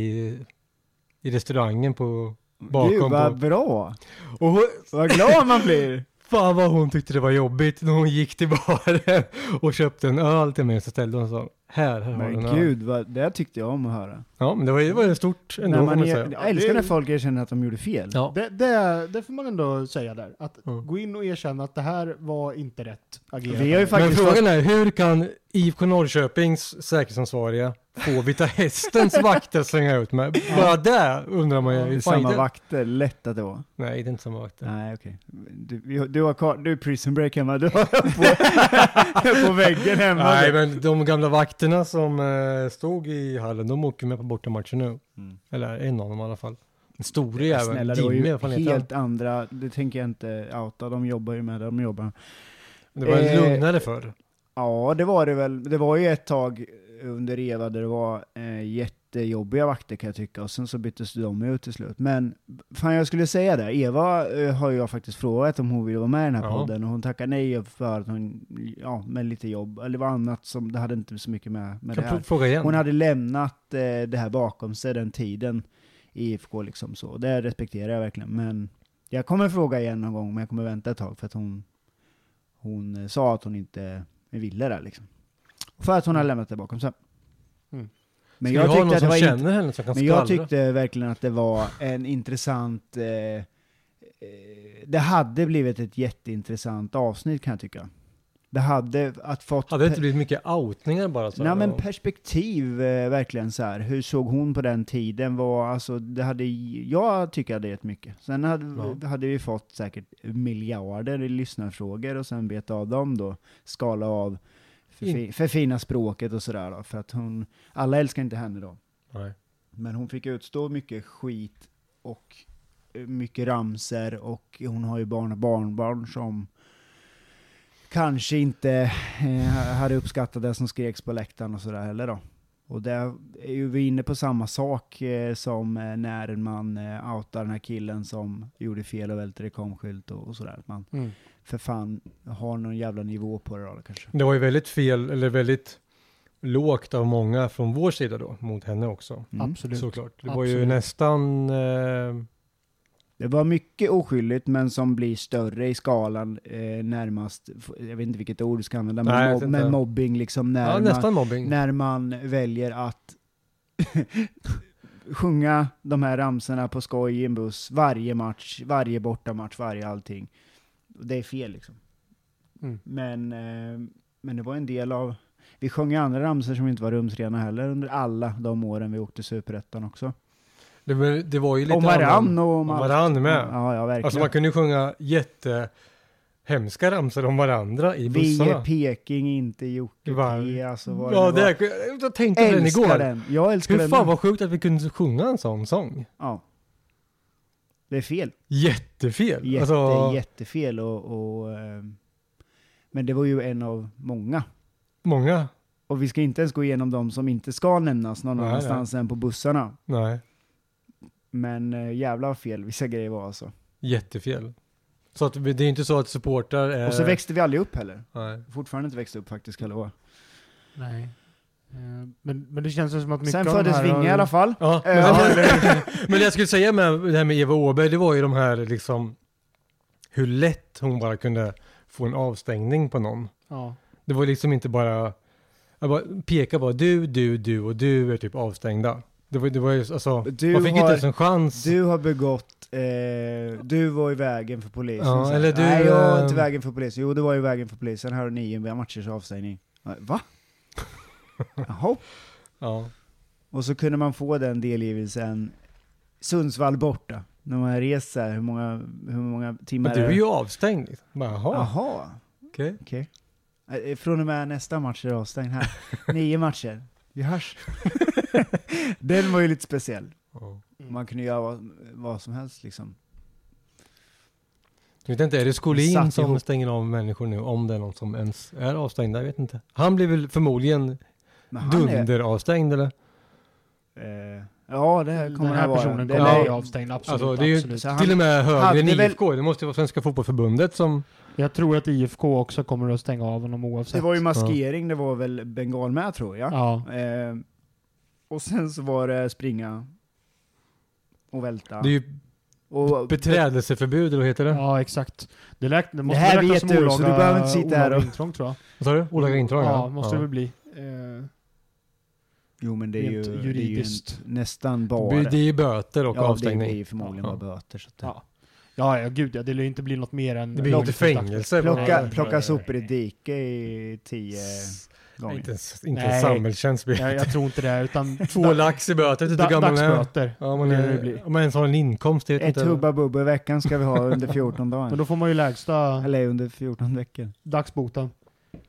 [SPEAKER 3] i restaurangen på... bakom
[SPEAKER 2] Gud vad
[SPEAKER 3] på-
[SPEAKER 2] bra!
[SPEAKER 3] Och hon,
[SPEAKER 2] Vad glad man blir!
[SPEAKER 3] fan vad hon tyckte det var jobbigt när hon gick till baren och köpte en öl till mig. Så ställde hon så här, här har du en
[SPEAKER 2] Men
[SPEAKER 3] öl.
[SPEAKER 2] gud, vad, det här tyckte jag om att höra.
[SPEAKER 3] Ja, men det var ju det var ju stort ändå,
[SPEAKER 2] När
[SPEAKER 3] får man
[SPEAKER 2] man
[SPEAKER 3] säga.
[SPEAKER 2] är, jag älskar när folk erkänner att de gjorde fel.
[SPEAKER 3] Ja.
[SPEAKER 1] Det, det, det får man ändå säga där. Att
[SPEAKER 3] Mm.
[SPEAKER 1] gå in och erkänna att det här var inte rätt agerat.
[SPEAKER 2] Vi har ju
[SPEAKER 3] Men
[SPEAKER 2] faktiskt
[SPEAKER 3] frågan är, hur kan IFK Norrköpings säkerhetsansvariga få Vita Hästens vakter att slänga ut med? Bara det undrar man ju.
[SPEAKER 2] Det är
[SPEAKER 3] Fan,
[SPEAKER 2] samma
[SPEAKER 3] inte-
[SPEAKER 2] vakter, lätt att det var.
[SPEAKER 3] Nej, det är inte samma vakter.
[SPEAKER 2] Nej, okej. Du, vi- du har kvar, du är prison break hemma, du har på, på väggen hemma.
[SPEAKER 3] Nej, men de gamla vakterna som eh, stod i hallen, de åker med på bortamatchen nu.
[SPEAKER 2] Mm.
[SPEAKER 3] Eller en av dem i alla fall. Den store
[SPEAKER 2] Ja,
[SPEAKER 3] jäveln,
[SPEAKER 2] Snälla, det var
[SPEAKER 3] Jimmy i alla fall
[SPEAKER 2] ju
[SPEAKER 3] heter han.
[SPEAKER 2] helt andra, det tänker jag inte outa, de jobbar ju med det, de jobbar.
[SPEAKER 3] Det var
[SPEAKER 2] eh,
[SPEAKER 3] lugnare förr.
[SPEAKER 2] Ja, det var det väl. Det var ju ett tag under Eva där det var eh, jättejobbiga vakter kan jag tycka, och sen så byttes de ut till slut. Men fan, jag skulle säga det, Eva eh, har jag faktiskt frågat om hon vill vara med i den här
[SPEAKER 3] Ja.
[SPEAKER 2] podden, och hon tackade nej för att hon, ja, med lite jobb, eller det var annat som, det hade inte så mycket med, med det
[SPEAKER 3] Kan
[SPEAKER 2] här.
[SPEAKER 3] jag fråga igen?
[SPEAKER 2] Hon hade lämnat eh, det här bakom sig, den tiden i IFK liksom så. Det respekterar jag verkligen. Men jag kommer fråga igen någon gång, men jag kommer vänta ett tag för att hon, hon eh, sa att hon inte ville det liksom. För att hon har lämnat det bakom sig.
[SPEAKER 1] Mm.
[SPEAKER 2] Men
[SPEAKER 3] Ska vi ha någon som
[SPEAKER 2] var
[SPEAKER 3] känner henne som kan
[SPEAKER 2] men jag
[SPEAKER 3] skvallra?
[SPEAKER 2] tyckte verkligen att det var en intressant... Eh, eh, det hade blivit ett jätteintressant avsnitt kan jag tycka. Det hade att fått...
[SPEAKER 3] Hade det inte blivit mycket outningar bara? Så
[SPEAKER 2] Nej
[SPEAKER 3] här,
[SPEAKER 2] men
[SPEAKER 3] och-
[SPEAKER 2] perspektiv, eh, verkligen så här. Hur såg hon på den tiden? Var, alltså, det hade, jag tycker det gett mycket. Sen hade,
[SPEAKER 3] Ja.
[SPEAKER 2] hade vi fått säkert miljarder i lyssnarfrågor och sen bet av dem då, skala av förfi, förfina språket och sådär då. För att hon, alla älskar inte henne då.
[SPEAKER 3] Nej.
[SPEAKER 2] Men hon fick utstå mycket skit och eh, mycket ramser och hon har ju barn och barnbarn som kanske inte eh, hade uppskattat det som skreks på läktaren och sådär heller då. Och där är ju vi inne på samma sak eh, som eh, när man eh, outar den här killen som gjorde fel och välte reklamskylt och, och sådär. Att man
[SPEAKER 1] Mm.
[SPEAKER 2] för fan har någon jävla nivå på det då kanske.
[SPEAKER 3] Det var ju väldigt fel, eller väldigt lågt av många från vår sida då, mot henne också.
[SPEAKER 2] Mm.
[SPEAKER 1] Absolut.
[SPEAKER 3] Såklart. Det var ju
[SPEAKER 1] Absolut.
[SPEAKER 3] nästan... Eh,
[SPEAKER 2] Det var mycket oskyldigt, men som blir större i skalan eh, närmast, jag vet inte vilket ord du ska använda,
[SPEAKER 3] Nej,
[SPEAKER 2] men,
[SPEAKER 3] jag vet
[SPEAKER 2] mob- men
[SPEAKER 3] inte.
[SPEAKER 2] mobbing liksom när,
[SPEAKER 3] Ja,
[SPEAKER 2] man,
[SPEAKER 3] nästan mobbing.
[SPEAKER 2] när man väljer att sjunga de här ramsorna på skoj i en buss varje match, varje bortamatch, varje allting. Det är fel liksom.
[SPEAKER 1] Mm.
[SPEAKER 2] Men, eh, men det var en del av... Vi sjöng ju andra ramsor som inte var rumsrena heller under alla de åren vi åkte Superettan också.
[SPEAKER 3] Det, var- det var ju lite
[SPEAKER 2] Om varann
[SPEAKER 3] annan-
[SPEAKER 2] och om
[SPEAKER 3] om
[SPEAKER 2] allt.
[SPEAKER 3] varann med.
[SPEAKER 2] Ja, ja verkligen.
[SPEAKER 3] Alltså man kunde ju sjunga jättehemska ramsor om varandra i
[SPEAKER 2] vi är
[SPEAKER 3] bussarna.
[SPEAKER 2] Peking, inte Jocke
[SPEAKER 3] Var-
[SPEAKER 2] P. Alltså vad
[SPEAKER 3] Ja,
[SPEAKER 2] det
[SPEAKER 3] det,
[SPEAKER 2] var.
[SPEAKER 3] jag tänkte på den
[SPEAKER 2] älskar
[SPEAKER 3] igår.
[SPEAKER 2] den. Jag älskar
[SPEAKER 3] Hur
[SPEAKER 2] den.
[SPEAKER 3] fan
[SPEAKER 2] nu.
[SPEAKER 3] vad sjukt att vi kunde sjunga en sån sång.
[SPEAKER 2] Ja. Det är fel.
[SPEAKER 3] Jättefel.
[SPEAKER 2] Jätte,
[SPEAKER 3] alltså,
[SPEAKER 2] jättefel och... och ehm, men det var ju en av många.
[SPEAKER 3] många.
[SPEAKER 2] Och vi ska inte ens gå igenom de som inte ska nämnas någon
[SPEAKER 3] Nej, nej.
[SPEAKER 2] annanstans än på bussarna.
[SPEAKER 3] Nej,
[SPEAKER 2] Men eh, jävla vad fel vissa grejer var alltså.
[SPEAKER 3] jättefel. Så att, vi- det är inte så att supportrar är...
[SPEAKER 2] Och så växte vi aldrig upp heller.
[SPEAKER 3] Nej.
[SPEAKER 2] Fortfarande inte växt upp faktiskt, kan jag lova.
[SPEAKER 1] Nej. Eh, Men, men det känns ju som att mycket
[SPEAKER 2] Sen
[SPEAKER 1] av de
[SPEAKER 2] föddes
[SPEAKER 1] här... har-
[SPEAKER 2] Vinge i alla fall.
[SPEAKER 3] Ja, men,
[SPEAKER 2] Eh, Ja,
[SPEAKER 3] men det jag skulle säga med det här med Eva Åberg, det var ju de här liksom hur lätt hon bara kunde få en avstängning på någon.
[SPEAKER 1] Ja.
[SPEAKER 3] Det var liksom inte bara, jag bara peka bara du, du, du och du är typ avstängda. Det var, det var ju alltså,
[SPEAKER 2] Du
[SPEAKER 3] man fick
[SPEAKER 2] har-
[SPEAKER 3] inte ens en chans.
[SPEAKER 2] Du har begått, eh, du var i vägen för polisen.
[SPEAKER 3] Ja,
[SPEAKER 2] Så här,
[SPEAKER 3] eller du,
[SPEAKER 2] Nej, jag var
[SPEAKER 3] eh,
[SPEAKER 2] inte i vägen för polisen. Jo, du var i vägen för polisen. Här har ni nio matchers avstängning. Va? Jaha.
[SPEAKER 3] Ja.
[SPEAKER 2] Och så kunde man få den delgivelsen Sundsvall borta. När man reser, hur många, hur många timmar
[SPEAKER 3] Men du är
[SPEAKER 2] det?
[SPEAKER 3] ju avstängd. liksom. Bara, Jaha,
[SPEAKER 2] Jaha.
[SPEAKER 3] okej.
[SPEAKER 2] Okej. Eh, Från och med nästa match är det avstängd här. Nio matcher. Vi hörs. Den var ju lite speciell.
[SPEAKER 3] Ja.
[SPEAKER 2] Man kunde göra vad, vad som helst liksom.
[SPEAKER 3] Jag vet inte, är det Skolin
[SPEAKER 2] Satt
[SPEAKER 3] som
[SPEAKER 2] ihop.
[SPEAKER 3] stänger av människor nu? Om det är någon som ens är avstängd, jag vet inte. Han blir väl förmodligen
[SPEAKER 2] Men han är,
[SPEAKER 3] dunderavstängd eller?
[SPEAKER 2] eh, ja, det
[SPEAKER 1] Den
[SPEAKER 2] kommer
[SPEAKER 1] här
[SPEAKER 2] han vara.
[SPEAKER 1] personen
[SPEAKER 2] Den
[SPEAKER 1] kommer
[SPEAKER 3] är-
[SPEAKER 1] att
[SPEAKER 2] är-
[SPEAKER 1] bli avstängd, absolut.
[SPEAKER 3] Alltså, det är ju-
[SPEAKER 1] absolut.
[SPEAKER 2] Så han-
[SPEAKER 3] Till och med högre
[SPEAKER 2] hade
[SPEAKER 3] än
[SPEAKER 2] väl-
[SPEAKER 3] IFK. Det måste ju vara Svenska Fotbollförbundet som...
[SPEAKER 1] Jag tror att IFK också kommer att stänga av honom oavsett.
[SPEAKER 2] Det var ju maskering, det var väl bengal med tror jag.
[SPEAKER 1] Ja.
[SPEAKER 2] Eh, och sen så var det springa och välta.
[SPEAKER 3] Det är ju
[SPEAKER 2] och,
[SPEAKER 3] beträdelseförbud eller vad heter det?
[SPEAKER 1] ja, exakt. Det, lät, det måste
[SPEAKER 2] Det här
[SPEAKER 1] väl räknas som
[SPEAKER 2] vet du, så
[SPEAKER 1] olaga,
[SPEAKER 2] du behöver inte sitta här
[SPEAKER 1] olaga
[SPEAKER 2] och-
[SPEAKER 1] intrång tror jag.
[SPEAKER 3] Vad sa du? Olaga intrång?
[SPEAKER 1] Ja, måste det väl bli. Eh,
[SPEAKER 2] jo men det är ju,
[SPEAKER 1] Rent
[SPEAKER 2] det är ju en,
[SPEAKER 1] juridiskt.
[SPEAKER 2] nästan
[SPEAKER 3] Det
[SPEAKER 2] bara...
[SPEAKER 3] är- Det är ju böter och
[SPEAKER 2] ja, det
[SPEAKER 3] avstängning.
[SPEAKER 2] blir ju förmodligen
[SPEAKER 3] Ja.
[SPEAKER 2] bara böter. Så att det,
[SPEAKER 1] Ja. ja, ja, gud ja. Det lär ju inte bli något mer än...
[SPEAKER 3] Det blir ju inte fängelse.
[SPEAKER 2] Plocka,
[SPEAKER 1] Nej.
[SPEAKER 2] plocka sopor i dike i tio gånger.
[SPEAKER 3] Inte ens, inte
[SPEAKER 1] Nej.
[SPEAKER 3] ens samhällstjänst. blir-
[SPEAKER 1] Jag, jag tror inte det, utan...
[SPEAKER 3] Två lax i böter, vet
[SPEAKER 1] da,
[SPEAKER 3] du hur gammal man är.
[SPEAKER 1] dagsböter.
[SPEAKER 3] Ja, man
[SPEAKER 1] Det blir-
[SPEAKER 3] är, om man ens har en inkomst. det vet
[SPEAKER 2] Ett
[SPEAKER 3] inte.
[SPEAKER 2] hubba bubba i veckan ska vi ha under
[SPEAKER 1] Men
[SPEAKER 2] 14 dagar.
[SPEAKER 1] då får man ju lägsta
[SPEAKER 2] Eller under 14 veckor.
[SPEAKER 1] dagsboten.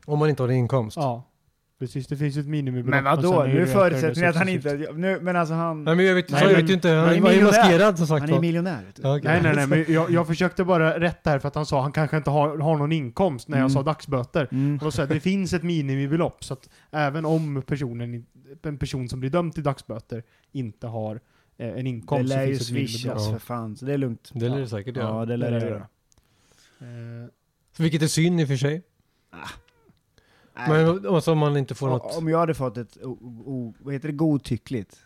[SPEAKER 3] Om man inte har en inkomst.
[SPEAKER 1] Ja. Precis, det finns ju ett minimibelopp.
[SPEAKER 2] Men
[SPEAKER 1] sen
[SPEAKER 2] vadå,
[SPEAKER 1] är
[SPEAKER 2] nu är
[SPEAKER 1] det
[SPEAKER 2] förutsättningen att
[SPEAKER 1] efter
[SPEAKER 2] han
[SPEAKER 1] det
[SPEAKER 2] inte...
[SPEAKER 1] successivt.
[SPEAKER 2] Nu, men alltså han...
[SPEAKER 3] Nej men jag vet,
[SPEAKER 1] Nej,
[SPEAKER 3] så jag
[SPEAKER 1] men-
[SPEAKER 3] vet ju inte. Han,
[SPEAKER 2] han är
[SPEAKER 3] han var ju
[SPEAKER 2] miljonär.
[SPEAKER 3] maskerad som sagt.
[SPEAKER 2] Han är
[SPEAKER 3] då.
[SPEAKER 2] miljonär. vet du.
[SPEAKER 3] Ja, okej.
[SPEAKER 1] Nej, nej, nej, men jag, jag försökte bara rätta här för att han sa han kanske inte har, har någon inkomst när jag
[SPEAKER 2] Mm.
[SPEAKER 1] sa dagsböter.
[SPEAKER 2] Mm.
[SPEAKER 1] Och då sa jag, det finns ett minimibelopp, så att även om personen, i- en person som blir dömd till dagsböter inte har eh, en
[SPEAKER 2] Det
[SPEAKER 1] inkomst
[SPEAKER 2] lär ju
[SPEAKER 1] finns ett minimibelopp.
[SPEAKER 2] swishas
[SPEAKER 3] Ja.
[SPEAKER 2] för fan, så det är lugnt.
[SPEAKER 3] Det lär det säkert göra.
[SPEAKER 2] Ja, det lär
[SPEAKER 1] Det
[SPEAKER 2] det
[SPEAKER 1] lär
[SPEAKER 2] göra.
[SPEAKER 1] Eh,
[SPEAKER 3] Vilket är synd i och för sig.
[SPEAKER 2] Nej.
[SPEAKER 3] Men alltså om man inte får något...
[SPEAKER 2] Om jag hade fått ett, o, o, vad heter det, godtyckligt.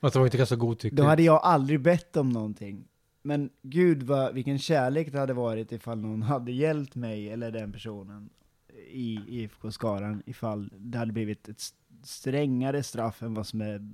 [SPEAKER 3] Alltså man inte kastar godtyckligt.
[SPEAKER 2] Då hade jag aldrig bett om någonting. Men gud vad, vilken kärlek det hade varit ifall någon hade hjälpt mig eller den personen i IFK-skaran ifall det hade blivit ett s- strängare straff än vad som är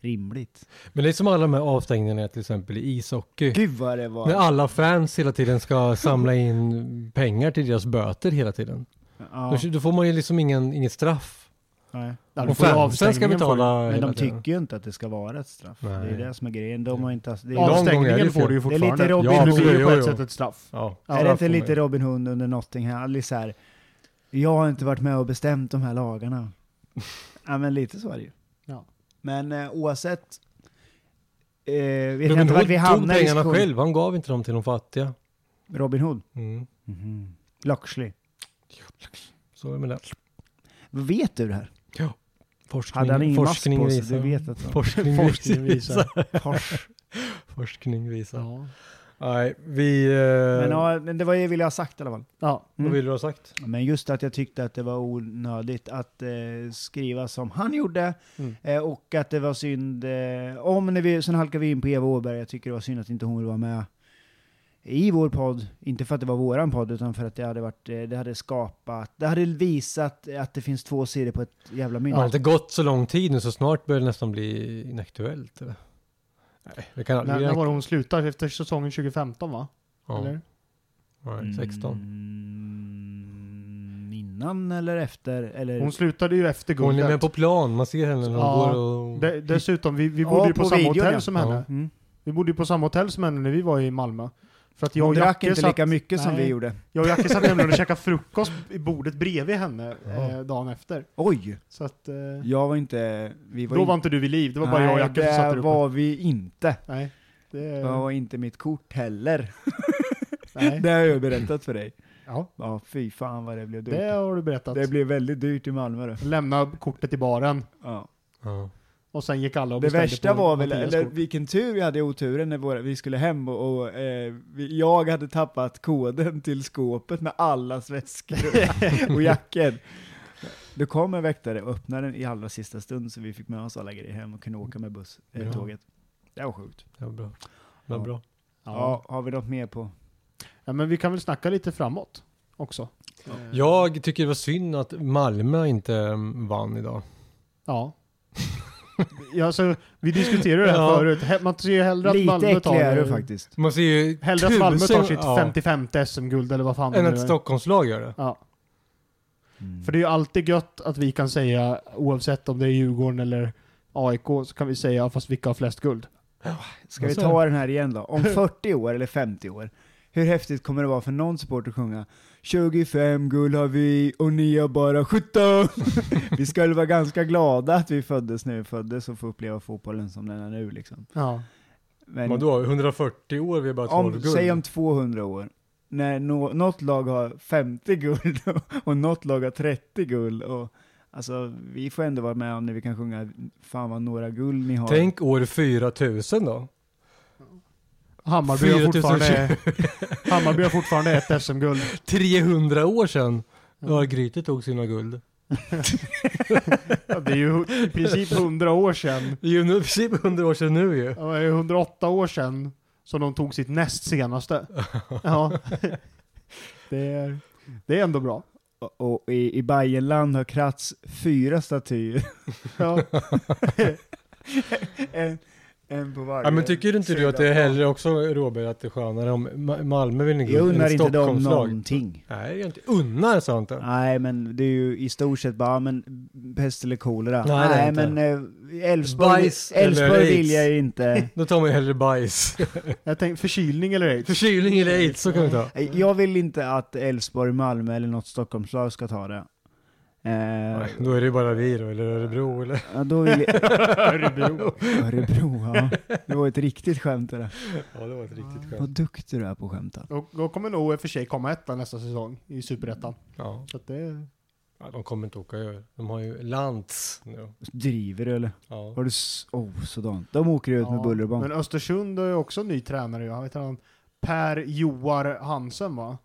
[SPEAKER 2] rimligt.
[SPEAKER 3] Men det är som alla de här avstängningarna till exempel i ishockey.
[SPEAKER 2] Gud vad det
[SPEAKER 3] När
[SPEAKER 2] var.
[SPEAKER 3] alla fans hela tiden ska samla in pengar till deras böter hela tiden.
[SPEAKER 2] Ja,
[SPEAKER 3] Då, då får man ju liksom ingen, inget straff.
[SPEAKER 2] nej.
[SPEAKER 1] ja, du
[SPEAKER 3] Och
[SPEAKER 1] får ju
[SPEAKER 3] fansen ska
[SPEAKER 1] avstängningen får du-
[SPEAKER 3] betala
[SPEAKER 2] Men
[SPEAKER 3] hela
[SPEAKER 2] de
[SPEAKER 3] tiden.
[SPEAKER 2] tycker ju inte att det ska vara ett straff. Det är ju
[SPEAKER 3] Nej.
[SPEAKER 2] det som är grejen. De har inte... Det är,
[SPEAKER 3] Ja, gånger är det
[SPEAKER 1] Avstängningen
[SPEAKER 3] ju
[SPEAKER 1] får du ju
[SPEAKER 2] fel. Det är
[SPEAKER 1] fortfarande.
[SPEAKER 2] lite Robin
[SPEAKER 1] ja,
[SPEAKER 3] Hood.
[SPEAKER 1] det blir ju på
[SPEAKER 3] Jo,
[SPEAKER 1] ett
[SPEAKER 3] jo.
[SPEAKER 1] sätt ett straff.
[SPEAKER 3] Ja.
[SPEAKER 2] är det inte lite Robin Hood under Nottingham? Lite så här, jag har inte varit med och bestämt de här lagarna. ja men lite så är det ju.
[SPEAKER 1] Ja.
[SPEAKER 2] Men eh, oavsett, eh, vet jag
[SPEAKER 3] Robin
[SPEAKER 2] inte vart
[SPEAKER 3] Hood
[SPEAKER 2] vi
[SPEAKER 3] tog
[SPEAKER 2] hamnar i
[SPEAKER 3] pengarna
[SPEAKER 2] diskussion-
[SPEAKER 3] själv, han gav inte dem till de fattiga.
[SPEAKER 2] Robin Hood?
[SPEAKER 3] Mm.
[SPEAKER 2] mm Loxley.
[SPEAKER 3] Så är det med det.
[SPEAKER 2] Vad Vet du det här?
[SPEAKER 3] Forskning,
[SPEAKER 2] Hade han ingen mask
[SPEAKER 3] forskning
[SPEAKER 2] på sig?
[SPEAKER 3] visar.
[SPEAKER 2] Du vet att han...
[SPEAKER 3] Forskning,
[SPEAKER 1] Forskning
[SPEAKER 3] visar.
[SPEAKER 1] visar.
[SPEAKER 2] Fors.
[SPEAKER 3] forskning visar.
[SPEAKER 1] Ja.
[SPEAKER 3] Nej, vi... Eh,
[SPEAKER 2] Men, ja, mm. men det var det jag ville ha sagt i alla fall.
[SPEAKER 1] Ja.
[SPEAKER 3] Vad vill du ha sagt?
[SPEAKER 2] Men just att jag tyckte att det var onödigt att eh, skriva som han gjorde.
[SPEAKER 1] Mm.
[SPEAKER 2] Eh, och att det var synd, eh, om när vi, sen halkar vi in på Eva Åberg, jag tycker det var synd att inte hon ville vara med. i vår podd, inte för att det var våran podd, utan för att det hade, varit, eh, det hade skapat, det hade visat att det finns två sidor på ett jävla mynt.
[SPEAKER 3] Det har inte gått så lång tid nu så snart börjar det nästan bli inaktuellt. eller? Nej, det kan aldrig
[SPEAKER 1] När,
[SPEAKER 3] bli
[SPEAKER 1] när var
[SPEAKER 3] inaktuellt.
[SPEAKER 1] det hon slutar? Efter säsongen 2015 va?
[SPEAKER 3] Ja,
[SPEAKER 1] Eller?
[SPEAKER 3] nej, 16.
[SPEAKER 2] Mm, innan eller efter? Eller?
[SPEAKER 1] Hon slutade ju efter
[SPEAKER 3] Hon är med
[SPEAKER 1] guldet.
[SPEAKER 3] på plan, man ser henne när hon
[SPEAKER 1] Ja,
[SPEAKER 3] går och...
[SPEAKER 1] De, dessutom, vi, vi
[SPEAKER 2] Ja,
[SPEAKER 1] bodde ju på,
[SPEAKER 2] på
[SPEAKER 1] samma
[SPEAKER 2] videon,
[SPEAKER 1] hotell
[SPEAKER 2] ja.
[SPEAKER 1] som
[SPEAKER 3] Ja.
[SPEAKER 1] henne.
[SPEAKER 2] mm.
[SPEAKER 1] Vi bodde ju på samma hotell som henne när vi var i Malmö. För att jag
[SPEAKER 2] Hon
[SPEAKER 1] och
[SPEAKER 2] drack
[SPEAKER 1] Jacke
[SPEAKER 2] inte
[SPEAKER 1] satt-
[SPEAKER 2] lika mycket som
[SPEAKER 1] Nej.
[SPEAKER 2] vi gjorde.
[SPEAKER 1] Jag och Jacke satt nämligen och käkade frukost i bordet bredvid henne eh, dagen efter.
[SPEAKER 2] Oj!
[SPEAKER 1] Så att, eh,
[SPEAKER 2] Jag var inte... Vi var
[SPEAKER 1] då
[SPEAKER 2] inte,
[SPEAKER 1] var inte du vid liv, det var bara jag och Jacke som satt
[SPEAKER 2] Nej,
[SPEAKER 1] där
[SPEAKER 2] det
[SPEAKER 1] uppe.
[SPEAKER 2] var vi inte.
[SPEAKER 1] Nej, det,
[SPEAKER 2] Det var inte mitt kort heller.
[SPEAKER 1] nej.
[SPEAKER 2] Det har jag ju berättat för dig.
[SPEAKER 1] Ja,
[SPEAKER 2] Ja, fy fan vad det blev dyrt.
[SPEAKER 1] det
[SPEAKER 2] Det,
[SPEAKER 1] har du berättat.
[SPEAKER 2] blev väldigt dyrt i Malmö då.
[SPEAKER 1] Lämna kortet i baren.
[SPEAKER 2] Ja.
[SPEAKER 3] Ja.
[SPEAKER 1] Och sen gick alla och
[SPEAKER 2] Det
[SPEAKER 1] beställde
[SPEAKER 2] värsta
[SPEAKER 1] på
[SPEAKER 2] var väl,
[SPEAKER 1] Mattias
[SPEAKER 2] eller
[SPEAKER 1] kort.
[SPEAKER 2] vilken tur vi hade i oturen när våra, vi skulle hem och, och eh, vi, jag hade tappat koden till skåpet med allas väskor och jackor. Då kom en väktare och öppnade den i allra sista stund så vi fick med oss alla grejer hem och kunde åka med buss, eh,
[SPEAKER 3] Ja.
[SPEAKER 2] tåget. Det var sjukt.
[SPEAKER 3] Det var bra. Det var
[SPEAKER 2] Ja.
[SPEAKER 3] bra.
[SPEAKER 1] Ja.
[SPEAKER 2] Ja. har vi något mer på?
[SPEAKER 1] ja, men vi kan väl snacka lite framåt också. Eh,
[SPEAKER 3] Jag tycker det var synd att Malmö inte mm, vann idag.
[SPEAKER 1] Ja. ja alltså, vi diskuterade det här
[SPEAKER 3] Ja.
[SPEAKER 1] förut. He- Man ser ju hellre att
[SPEAKER 2] Lite
[SPEAKER 1] Malmö tar
[SPEAKER 2] äckligare faktiskt.
[SPEAKER 3] Man ser ju
[SPEAKER 1] Hellre att Malmö tar
[SPEAKER 3] tusen-
[SPEAKER 1] sitt
[SPEAKER 3] ja,
[SPEAKER 1] 55 SM-guld eller vad fan det
[SPEAKER 3] än
[SPEAKER 1] nu
[SPEAKER 3] att
[SPEAKER 1] är.
[SPEAKER 3] Stockholmslag gör det.
[SPEAKER 1] Ja.
[SPEAKER 3] Mm.
[SPEAKER 1] För det är ju alltid gött att vi kan säga, oavsett om det är Djurgården eller AIK, så kan vi säga fast vilka har flest guld.
[SPEAKER 2] Ska
[SPEAKER 3] Alltså-
[SPEAKER 2] vi ta den här igen då? Om 40 år eller 50 år, hur häftigt kommer det vara för någon supporter att sjunga 25 guld har vi och ni har bara 17! vi ska väl vara ganska glada att vi föddes när vi föddes och får uppleva fotbollen som den är nu liksom.
[SPEAKER 1] Ja.
[SPEAKER 2] Men
[SPEAKER 3] Vadå, 140 år vi har bara 12
[SPEAKER 2] om,
[SPEAKER 3] guld?
[SPEAKER 2] säg om 200 år, när no, något lag har 50 guld och något lag har 30 guld och Alltså vi får ändå vara med om när vi kan sjunga 'Fan vad några guld ni har'
[SPEAKER 3] Tänk år 4000 då.
[SPEAKER 1] Hammarby har,
[SPEAKER 3] 4000
[SPEAKER 1] fortfarande, Hammarby har fortfarande ett SM-guld.
[SPEAKER 3] 300 år sedan. Mm. Ja, Grytet tog sina guld.
[SPEAKER 1] Ja, Det är ju i princip 100 år sedan.
[SPEAKER 3] Det är ju nu- i princip 100 år sedan nu ju.
[SPEAKER 1] Ja, Det är ju 108 år sedan som de tog sitt näst senaste. Ja. Det är, det är ändå bra.
[SPEAKER 2] Och, och i, i Bayernland har Kratz fyra statyer.
[SPEAKER 1] Ja.
[SPEAKER 2] en, en på varje
[SPEAKER 3] Ja, men tycker inte du att det är
[SPEAKER 2] sida.
[SPEAKER 3] hellre också Robert att det är skönare om Ma- Malmö vinner
[SPEAKER 2] Jag
[SPEAKER 3] guld än
[SPEAKER 2] unnar
[SPEAKER 3] ett
[SPEAKER 2] inte dem
[SPEAKER 3] Stockholmslag?
[SPEAKER 2] någonting.
[SPEAKER 3] Nej, jag inte unnar sa jag inte.
[SPEAKER 2] Nej, men det är ju i stort sett bara, men pest eller kolera.
[SPEAKER 3] Nej, det är inte.
[SPEAKER 2] men eh, Elfsborg
[SPEAKER 3] Bajs eller
[SPEAKER 2] Elfsborg vill
[SPEAKER 3] aids.
[SPEAKER 2] jag inte.
[SPEAKER 3] Då tar man ju hellre bajs.
[SPEAKER 1] Jag tänkte, förkylning eller aids?
[SPEAKER 3] Förkylning eller aids, så kan vi ta.
[SPEAKER 2] Eh, Jag vill inte att Elfsborg, Malmö eller något Stockholmslag ska ta det. Eh,
[SPEAKER 3] Nej, Då är det ju bara vi då, eller Örebro eller...
[SPEAKER 2] ja, då vill jag...
[SPEAKER 1] Örebro.
[SPEAKER 2] Örebro, ja. Det var ett riktigt skämt det där.
[SPEAKER 3] Ja, det var ett riktigt
[SPEAKER 2] Vad duktig du är på att skämta.
[SPEAKER 1] Då, då kommer nog i och för sig komma etta nästa säsong i Superettan.
[SPEAKER 3] Ja.
[SPEAKER 1] Så att det...
[SPEAKER 3] ja, de kommer inte åka över. De har ju Lantz nu.
[SPEAKER 2] Driver du eller?
[SPEAKER 3] Ja.
[SPEAKER 2] Har du... s- Oh, sådant. De åker ju ut med
[SPEAKER 1] Ja,
[SPEAKER 2] buller och bång.
[SPEAKER 1] Men Östersund är ju också en ny tränare. Jag vet han, Per Joar Hansen va?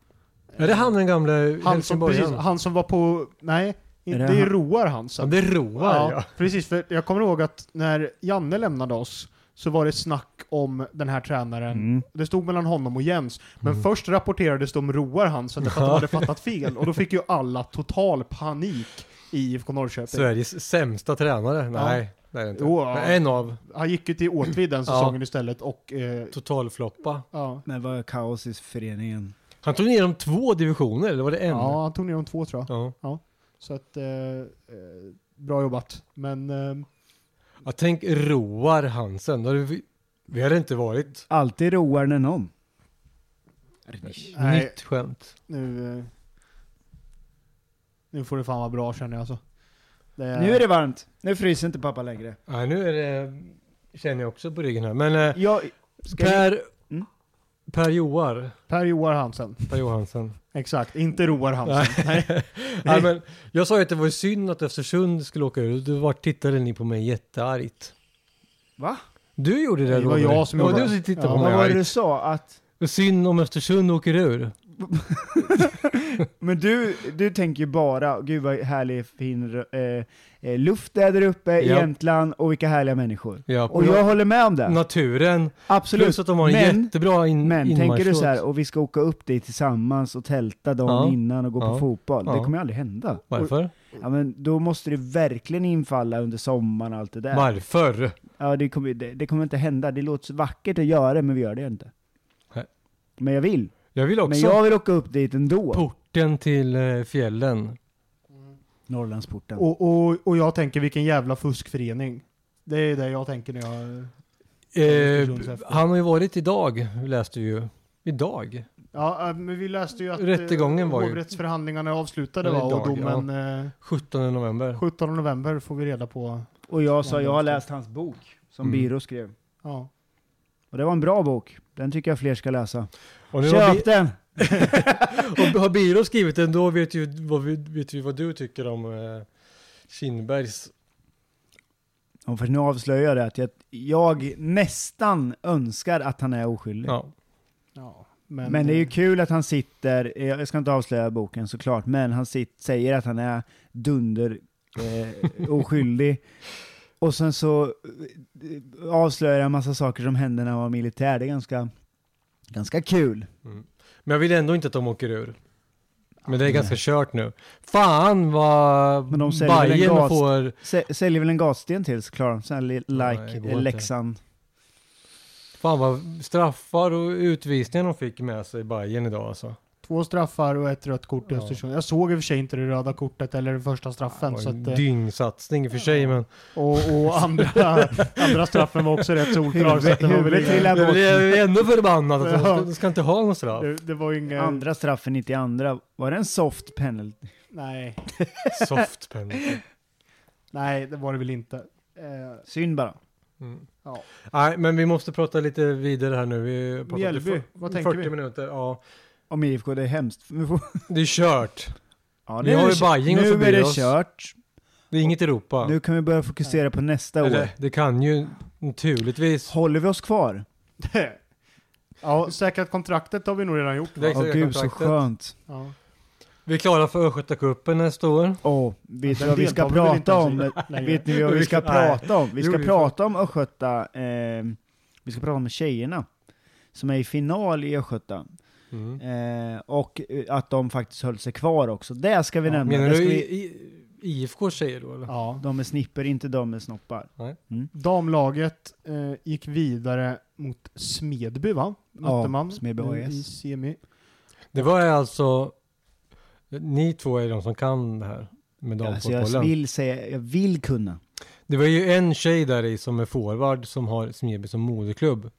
[SPEAKER 3] Är det han den gamle
[SPEAKER 1] Han som, precis,
[SPEAKER 3] helsingborgaren?
[SPEAKER 1] han som var på... Nej,
[SPEAKER 2] Är
[SPEAKER 1] det,
[SPEAKER 2] det
[SPEAKER 1] är
[SPEAKER 2] han-
[SPEAKER 1] Roar
[SPEAKER 3] Ja,
[SPEAKER 1] Hansen.
[SPEAKER 3] det roar
[SPEAKER 1] Ja,
[SPEAKER 3] ja.
[SPEAKER 1] precis. För jag kommer ihåg att när Janne lämnade oss så var det snack om den här tränaren.
[SPEAKER 2] Mm.
[SPEAKER 1] Det stod mellan honom och Jens. Men
[SPEAKER 3] Mm.
[SPEAKER 1] först rapporterades det om Roar Hansen därför att de hade fattat fel. Och då fick ju alla total panik i IFK Norrköping.
[SPEAKER 3] Sveriges sämsta tränare? Nej, det är det inte.
[SPEAKER 1] Jo, ja.
[SPEAKER 3] Men En av.
[SPEAKER 1] Han gick ju till Åtvid den säsongen istället och... Eh,
[SPEAKER 3] Totalfloppa.
[SPEAKER 1] ja.
[SPEAKER 2] Men vad är kaos i föreningen?
[SPEAKER 3] Han tog ner dem två divisioner, eller var det en?
[SPEAKER 1] ja, han tog ner de två tror jag.
[SPEAKER 3] Ja.
[SPEAKER 1] Så att... Eh, eh, bra jobbat. Men... Eh,
[SPEAKER 3] Ja, tänk Roar Hansen. Då hade vi, vi hade inte varit...
[SPEAKER 2] Alltid roar när någon.
[SPEAKER 1] Nej.
[SPEAKER 3] Nytt skämt.
[SPEAKER 1] nu... Eh, nu får det fan vara bra känner jag alltså. Det-
[SPEAKER 2] Nu är det varmt. Nu fryser inte pappa längre.
[SPEAKER 3] Ja, nu är det, känner jag också på ryggen här. Men eh,
[SPEAKER 2] Jag, ska vi,
[SPEAKER 3] Per...
[SPEAKER 2] Mm.
[SPEAKER 3] Per Joar.
[SPEAKER 1] Per Joar Hansen.
[SPEAKER 3] Per Johansson.
[SPEAKER 1] Exakt, inte Roar Hansen. Nej.
[SPEAKER 3] Nej, men jag sa ju att det var synd att Östersund skulle åka ur. Du var, tittade ni på mig jätteargt.
[SPEAKER 2] va?
[SPEAKER 3] Du gjorde det
[SPEAKER 1] Det var
[SPEAKER 3] Robert.
[SPEAKER 1] jag som gjorde
[SPEAKER 3] det. var
[SPEAKER 1] det.
[SPEAKER 3] du som tittade
[SPEAKER 1] Ja,
[SPEAKER 3] på
[SPEAKER 2] Vad
[SPEAKER 3] mig
[SPEAKER 2] var det
[SPEAKER 3] argt.
[SPEAKER 2] du sa? Att
[SPEAKER 3] Synd om Östersund åker ur.
[SPEAKER 2] Men du, du tänker ju bara, gud vad härlig fin eh, eh, luft det är där uppe i
[SPEAKER 3] Ja.
[SPEAKER 2] Jämtland och vilka härliga människor.
[SPEAKER 3] Ja,
[SPEAKER 2] Och jag håller med om det.
[SPEAKER 3] naturen.
[SPEAKER 2] Absolut.
[SPEAKER 3] Plus att de har en
[SPEAKER 2] Men-
[SPEAKER 3] jättebra in,
[SPEAKER 2] Men tänker du
[SPEAKER 3] inmarschlåt.
[SPEAKER 2] så här, och vi ska åka upp dit tillsammans och tälta dagen
[SPEAKER 3] Ja.
[SPEAKER 2] innan och gå på
[SPEAKER 3] Ja.
[SPEAKER 2] fotboll. Det
[SPEAKER 3] Ja.
[SPEAKER 2] kommer ju aldrig hända.
[SPEAKER 3] Varför?
[SPEAKER 2] Ja, men då måste det verkligen infalla under sommaren och allt det där.
[SPEAKER 3] Varför?
[SPEAKER 2] Ja, det kommer, det, det kommer inte hända. Det låter så vackert att göra det, men vi gör det inte.
[SPEAKER 3] Nej.
[SPEAKER 2] Men jag vill.
[SPEAKER 3] Jag vill också
[SPEAKER 2] Men jag vill åka upp dit ändå.
[SPEAKER 3] porten till eh, fjällen.
[SPEAKER 2] Norrlandsporten.
[SPEAKER 1] Och, och, och jag tänker vilken jävla fuskförening. Det är det jag tänker när jag...
[SPEAKER 3] Eh,
[SPEAKER 1] diskussions efter.
[SPEAKER 3] han har ju varit idag, läste vi ju. Idag?
[SPEAKER 1] Ja, eh, men vi läste ju att eh,
[SPEAKER 3] Rättegången var ju-
[SPEAKER 1] hovrättsförhandlingarna är avslutade
[SPEAKER 3] Eller
[SPEAKER 1] va? Och
[SPEAKER 3] idag, ja.
[SPEAKER 1] domen eh,
[SPEAKER 3] 17 november.
[SPEAKER 1] 17 november får vi reda på.
[SPEAKER 2] Och jag sa, jag har läst hans bok som
[SPEAKER 3] Mm.
[SPEAKER 2] Biro skrev.
[SPEAKER 1] Ja.
[SPEAKER 2] Och det var en bra bok. Den tycker jag fler ska läsa.
[SPEAKER 3] Och nu har,
[SPEAKER 2] Köp
[SPEAKER 3] Bi-
[SPEAKER 2] den!
[SPEAKER 3] och har Biro skrivit den, då vet ju vad, vi- vet vi vad du tycker om eh, Kindbergs.
[SPEAKER 2] Och för nu avslöjar jag det att jag, jag nästan önskar att han är oskyldig.
[SPEAKER 3] Ja.
[SPEAKER 1] ja.
[SPEAKER 2] men, det är ju kul att han sitter, eh, jag ska inte avslöja boken såklart, men han sit, säger att han är dunder eh, oskyldig. Och sen så eh, avslöjar han en massa saker som hände när han var militär. Det är ganska, ganska kul.
[SPEAKER 3] Mm. Men jag vill ändå inte att de åker ur. Men det är ganska kört nu. Fan vad
[SPEAKER 2] Men de säljer väl en
[SPEAKER 3] Bajen
[SPEAKER 2] gas-
[SPEAKER 3] får...
[SPEAKER 2] Sä- Säljer väl en gassten till så klarar de sig, li-
[SPEAKER 3] det
[SPEAKER 2] like
[SPEAKER 3] går
[SPEAKER 2] eh,
[SPEAKER 3] inte.
[SPEAKER 2] Leksand.
[SPEAKER 3] Fan vad straffar och utvisningar de fick med sig i Bajen idag alltså.
[SPEAKER 1] Två straffar och ett rött kort i
[SPEAKER 3] Ja.
[SPEAKER 1] Östersund. Jag såg i och för sig inte det röda kortet eller den första
[SPEAKER 3] Det
[SPEAKER 1] straffen.
[SPEAKER 3] var
[SPEAKER 1] så
[SPEAKER 3] en
[SPEAKER 1] att, eh,
[SPEAKER 3] dyngsatsning i och för sig men...
[SPEAKER 1] och och andra, andra straffen var också rätt solklar. så att det, var väl
[SPEAKER 2] Huvudet
[SPEAKER 1] inga,
[SPEAKER 2] trillar
[SPEAKER 3] Jag
[SPEAKER 2] bort.
[SPEAKER 3] blir ändå förbannad att
[SPEAKER 1] Ja.
[SPEAKER 3] de- de ska inte ha någon straff.
[SPEAKER 1] det, det var ju inga...
[SPEAKER 2] Andra straffen, inte i andra. Var det en soft penalty?
[SPEAKER 1] Nej,
[SPEAKER 3] Soft penalty.
[SPEAKER 1] nej, det var det väl inte. Eh,
[SPEAKER 2] Synd bara.
[SPEAKER 3] Mm.
[SPEAKER 1] Ja.
[SPEAKER 3] Nej, men vi måste prata lite vidare här nu. Vi har pratat i
[SPEAKER 1] Mjällby, vad
[SPEAKER 3] 40
[SPEAKER 1] tänker vi?
[SPEAKER 3] minuter, ja.
[SPEAKER 2] Om IFK, det är hemskt.
[SPEAKER 3] Det är kört.
[SPEAKER 2] Ja,
[SPEAKER 3] Vi har ju
[SPEAKER 2] är det-
[SPEAKER 3] Bajen och
[SPEAKER 2] Nu
[SPEAKER 3] förbi
[SPEAKER 2] är det
[SPEAKER 3] oss.
[SPEAKER 2] kört.
[SPEAKER 3] Det är inget Europa.
[SPEAKER 2] Nu kan vi börja fokusera på nästa år.
[SPEAKER 3] Eller, det kan ju naturligtvis.
[SPEAKER 2] Håller vi oss kvar?
[SPEAKER 1] ja, säkrat kontraktet har vi nog redan gjort.
[SPEAKER 3] Det är
[SPEAKER 1] Va?
[SPEAKER 2] Åh
[SPEAKER 3] exakt
[SPEAKER 2] gud så
[SPEAKER 3] kontraktet.
[SPEAKER 2] skönt.
[SPEAKER 1] Ja.
[SPEAKER 3] Vi är klara för Östgötacupen nästa år.
[SPEAKER 2] Åh, vet
[SPEAKER 1] Den
[SPEAKER 2] ni vad vi ska
[SPEAKER 1] deltar vi väl inte
[SPEAKER 2] prata
[SPEAKER 1] ens
[SPEAKER 2] om?
[SPEAKER 1] längre.
[SPEAKER 2] Vet ni vad vi ska
[SPEAKER 3] Nej.
[SPEAKER 2] prata om? Vi
[SPEAKER 3] Jo,
[SPEAKER 2] ska
[SPEAKER 3] det är
[SPEAKER 2] prata om Östgöta, eh, vi ska prata om tjejerna. Som är i final i Östgöta.
[SPEAKER 3] Mm.
[SPEAKER 2] Eh, och eh, att de faktiskt höll sig kvar också. Det ska vi
[SPEAKER 1] Ja,
[SPEAKER 2] nämna. Det
[SPEAKER 3] Menar du
[SPEAKER 2] ska
[SPEAKER 3] i,
[SPEAKER 2] vi...
[SPEAKER 3] i, IFK tjejer då eller?
[SPEAKER 1] Ja.
[SPEAKER 2] De är snipper, inte de är snoppar.
[SPEAKER 1] Damlaget eh, gick vidare mot Smedby va? Mötte
[SPEAKER 2] Ja,
[SPEAKER 1] man
[SPEAKER 2] Smedby
[SPEAKER 1] nu
[SPEAKER 2] AIS.
[SPEAKER 1] i semi.
[SPEAKER 3] Det var alltså, ni två är de som kan det här med
[SPEAKER 2] Alltså
[SPEAKER 3] damfotbollen.
[SPEAKER 2] jag vill säga, jag vill kunna.
[SPEAKER 3] Det var ju en tjej där i som är forward som har Smedby som moderklubb.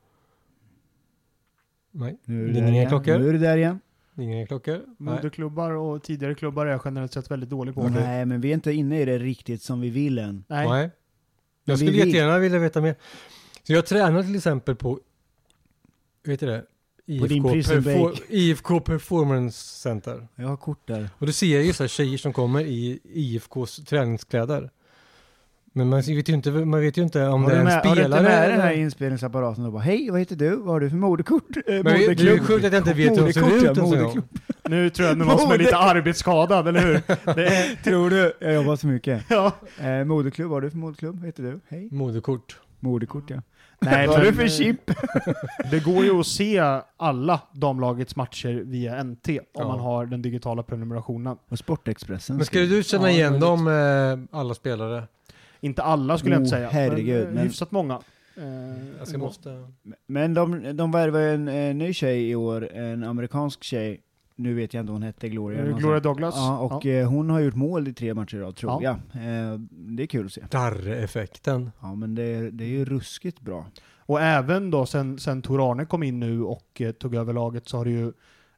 [SPEAKER 3] Nej,
[SPEAKER 2] Nu är
[SPEAKER 3] Det
[SPEAKER 2] det,
[SPEAKER 3] är
[SPEAKER 2] där
[SPEAKER 3] inga
[SPEAKER 2] igen.
[SPEAKER 3] klockor.
[SPEAKER 2] Nu är det där igen.
[SPEAKER 3] det är inga klockor. Nej.
[SPEAKER 1] Moderklubbar och tidigare klubbar är jag generellt sett väldigt dålig på.
[SPEAKER 2] Nej, men vi är inte inne i det riktigt som vi vill än.
[SPEAKER 1] Nej.
[SPEAKER 3] Nej.
[SPEAKER 2] Men
[SPEAKER 3] Jag skulle
[SPEAKER 2] vi vill.
[SPEAKER 3] jättegärna vilja veta mer. Så jag tränar till exempel på, vet du det?
[SPEAKER 2] din
[SPEAKER 3] IFK,
[SPEAKER 2] prison break.
[SPEAKER 3] IFK Performance Center.
[SPEAKER 2] Jag har kort där.
[SPEAKER 3] Och då ser jag ju så här tjejer som kommer i IFKs träningskläder. Men man vet ju inte, man vet ju inte om
[SPEAKER 2] har
[SPEAKER 3] det är
[SPEAKER 2] du
[SPEAKER 3] en
[SPEAKER 2] med, har du
[SPEAKER 3] spelare.
[SPEAKER 2] inte med den här
[SPEAKER 3] eller-
[SPEAKER 2] inspelningsapparaten och bara hej, vad heter du? Vad har du för moderkort? Eh,
[SPEAKER 3] men det är
[SPEAKER 2] moderklubb?"
[SPEAKER 3] ju sjukt att jag inte vet hur de ser
[SPEAKER 2] Moderkort,
[SPEAKER 3] ut. alltså.
[SPEAKER 2] ja,
[SPEAKER 3] ens en gång.
[SPEAKER 2] moderklubb.
[SPEAKER 1] Nu tror jag det är någon som är lite arbetsskadad, eller hur? Det är,
[SPEAKER 2] Tror du? Jag jobbar så mycket.
[SPEAKER 1] ja.
[SPEAKER 2] Eh, moderklubb, vad har du för moderklubb? Vad heter du? Hej.
[SPEAKER 3] Moderkort.
[SPEAKER 2] Moderkort ja.
[SPEAKER 1] Nej,
[SPEAKER 2] vad har du
[SPEAKER 1] men,
[SPEAKER 2] för
[SPEAKER 1] eh,
[SPEAKER 2] chip?
[SPEAKER 1] Det går ju att se alla damlagets matcher via NT om
[SPEAKER 3] Ja.
[SPEAKER 1] man har den digitala prenumerationen.
[SPEAKER 2] Och Sportexpressen.
[SPEAKER 3] Men skulle du känna
[SPEAKER 1] Ja,
[SPEAKER 3] igen
[SPEAKER 1] möjligt.
[SPEAKER 3] dem, eh, alla spelare?
[SPEAKER 1] Inte alla skulle jag inte säga,
[SPEAKER 2] Oh, herregud,
[SPEAKER 1] men, eh,
[SPEAKER 2] men-
[SPEAKER 1] hyfsat många. Eh,
[SPEAKER 3] Jag ska
[SPEAKER 1] ändå.
[SPEAKER 3] måste...
[SPEAKER 2] Men de, de värvar ju en eh, ny tjej i år, en amerikansk tjej. Nu vet jag inte vad hon hette, Gloria.
[SPEAKER 1] Eh,
[SPEAKER 2] någonstans.
[SPEAKER 1] Gloria Douglas.
[SPEAKER 2] Ja, och eh, hon har gjort mål i tre matcher i rad tror
[SPEAKER 1] Ja.
[SPEAKER 2] jag. Eh, det är kul att se.
[SPEAKER 3] Darre-effekten.
[SPEAKER 2] Ja men det är, det är ju ruskigt bra.
[SPEAKER 1] Och även då sen, sen Tor Arne kom in nu och eh, tog över laget så har det ju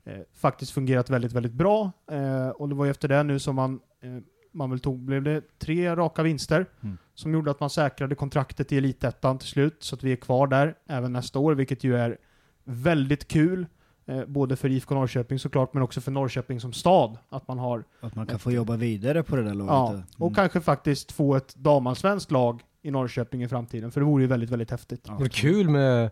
[SPEAKER 1] eh, faktiskt fungerat väldigt, väldigt bra. Eh, och det var ju efter det nu som man, eh, man väl tog, blev det tre raka vinster
[SPEAKER 2] Mm.
[SPEAKER 1] som gjorde att man säkrade kontraktet i Elitettan till slut så att vi är kvar där även nästa år, vilket ju är väldigt kul. Eh, både för IFK Norrköping såklart, men också för Norrköping som stad. Att man har
[SPEAKER 2] Att man kan få jobba vidare på det där laget.
[SPEAKER 1] Ja,
[SPEAKER 2] Mm.
[SPEAKER 1] och kanske faktiskt få ett damallsvenskt lag i Norrköping i framtiden, för det vore ju väldigt, väldigt häftigt.
[SPEAKER 2] Ja,
[SPEAKER 3] Vore kul med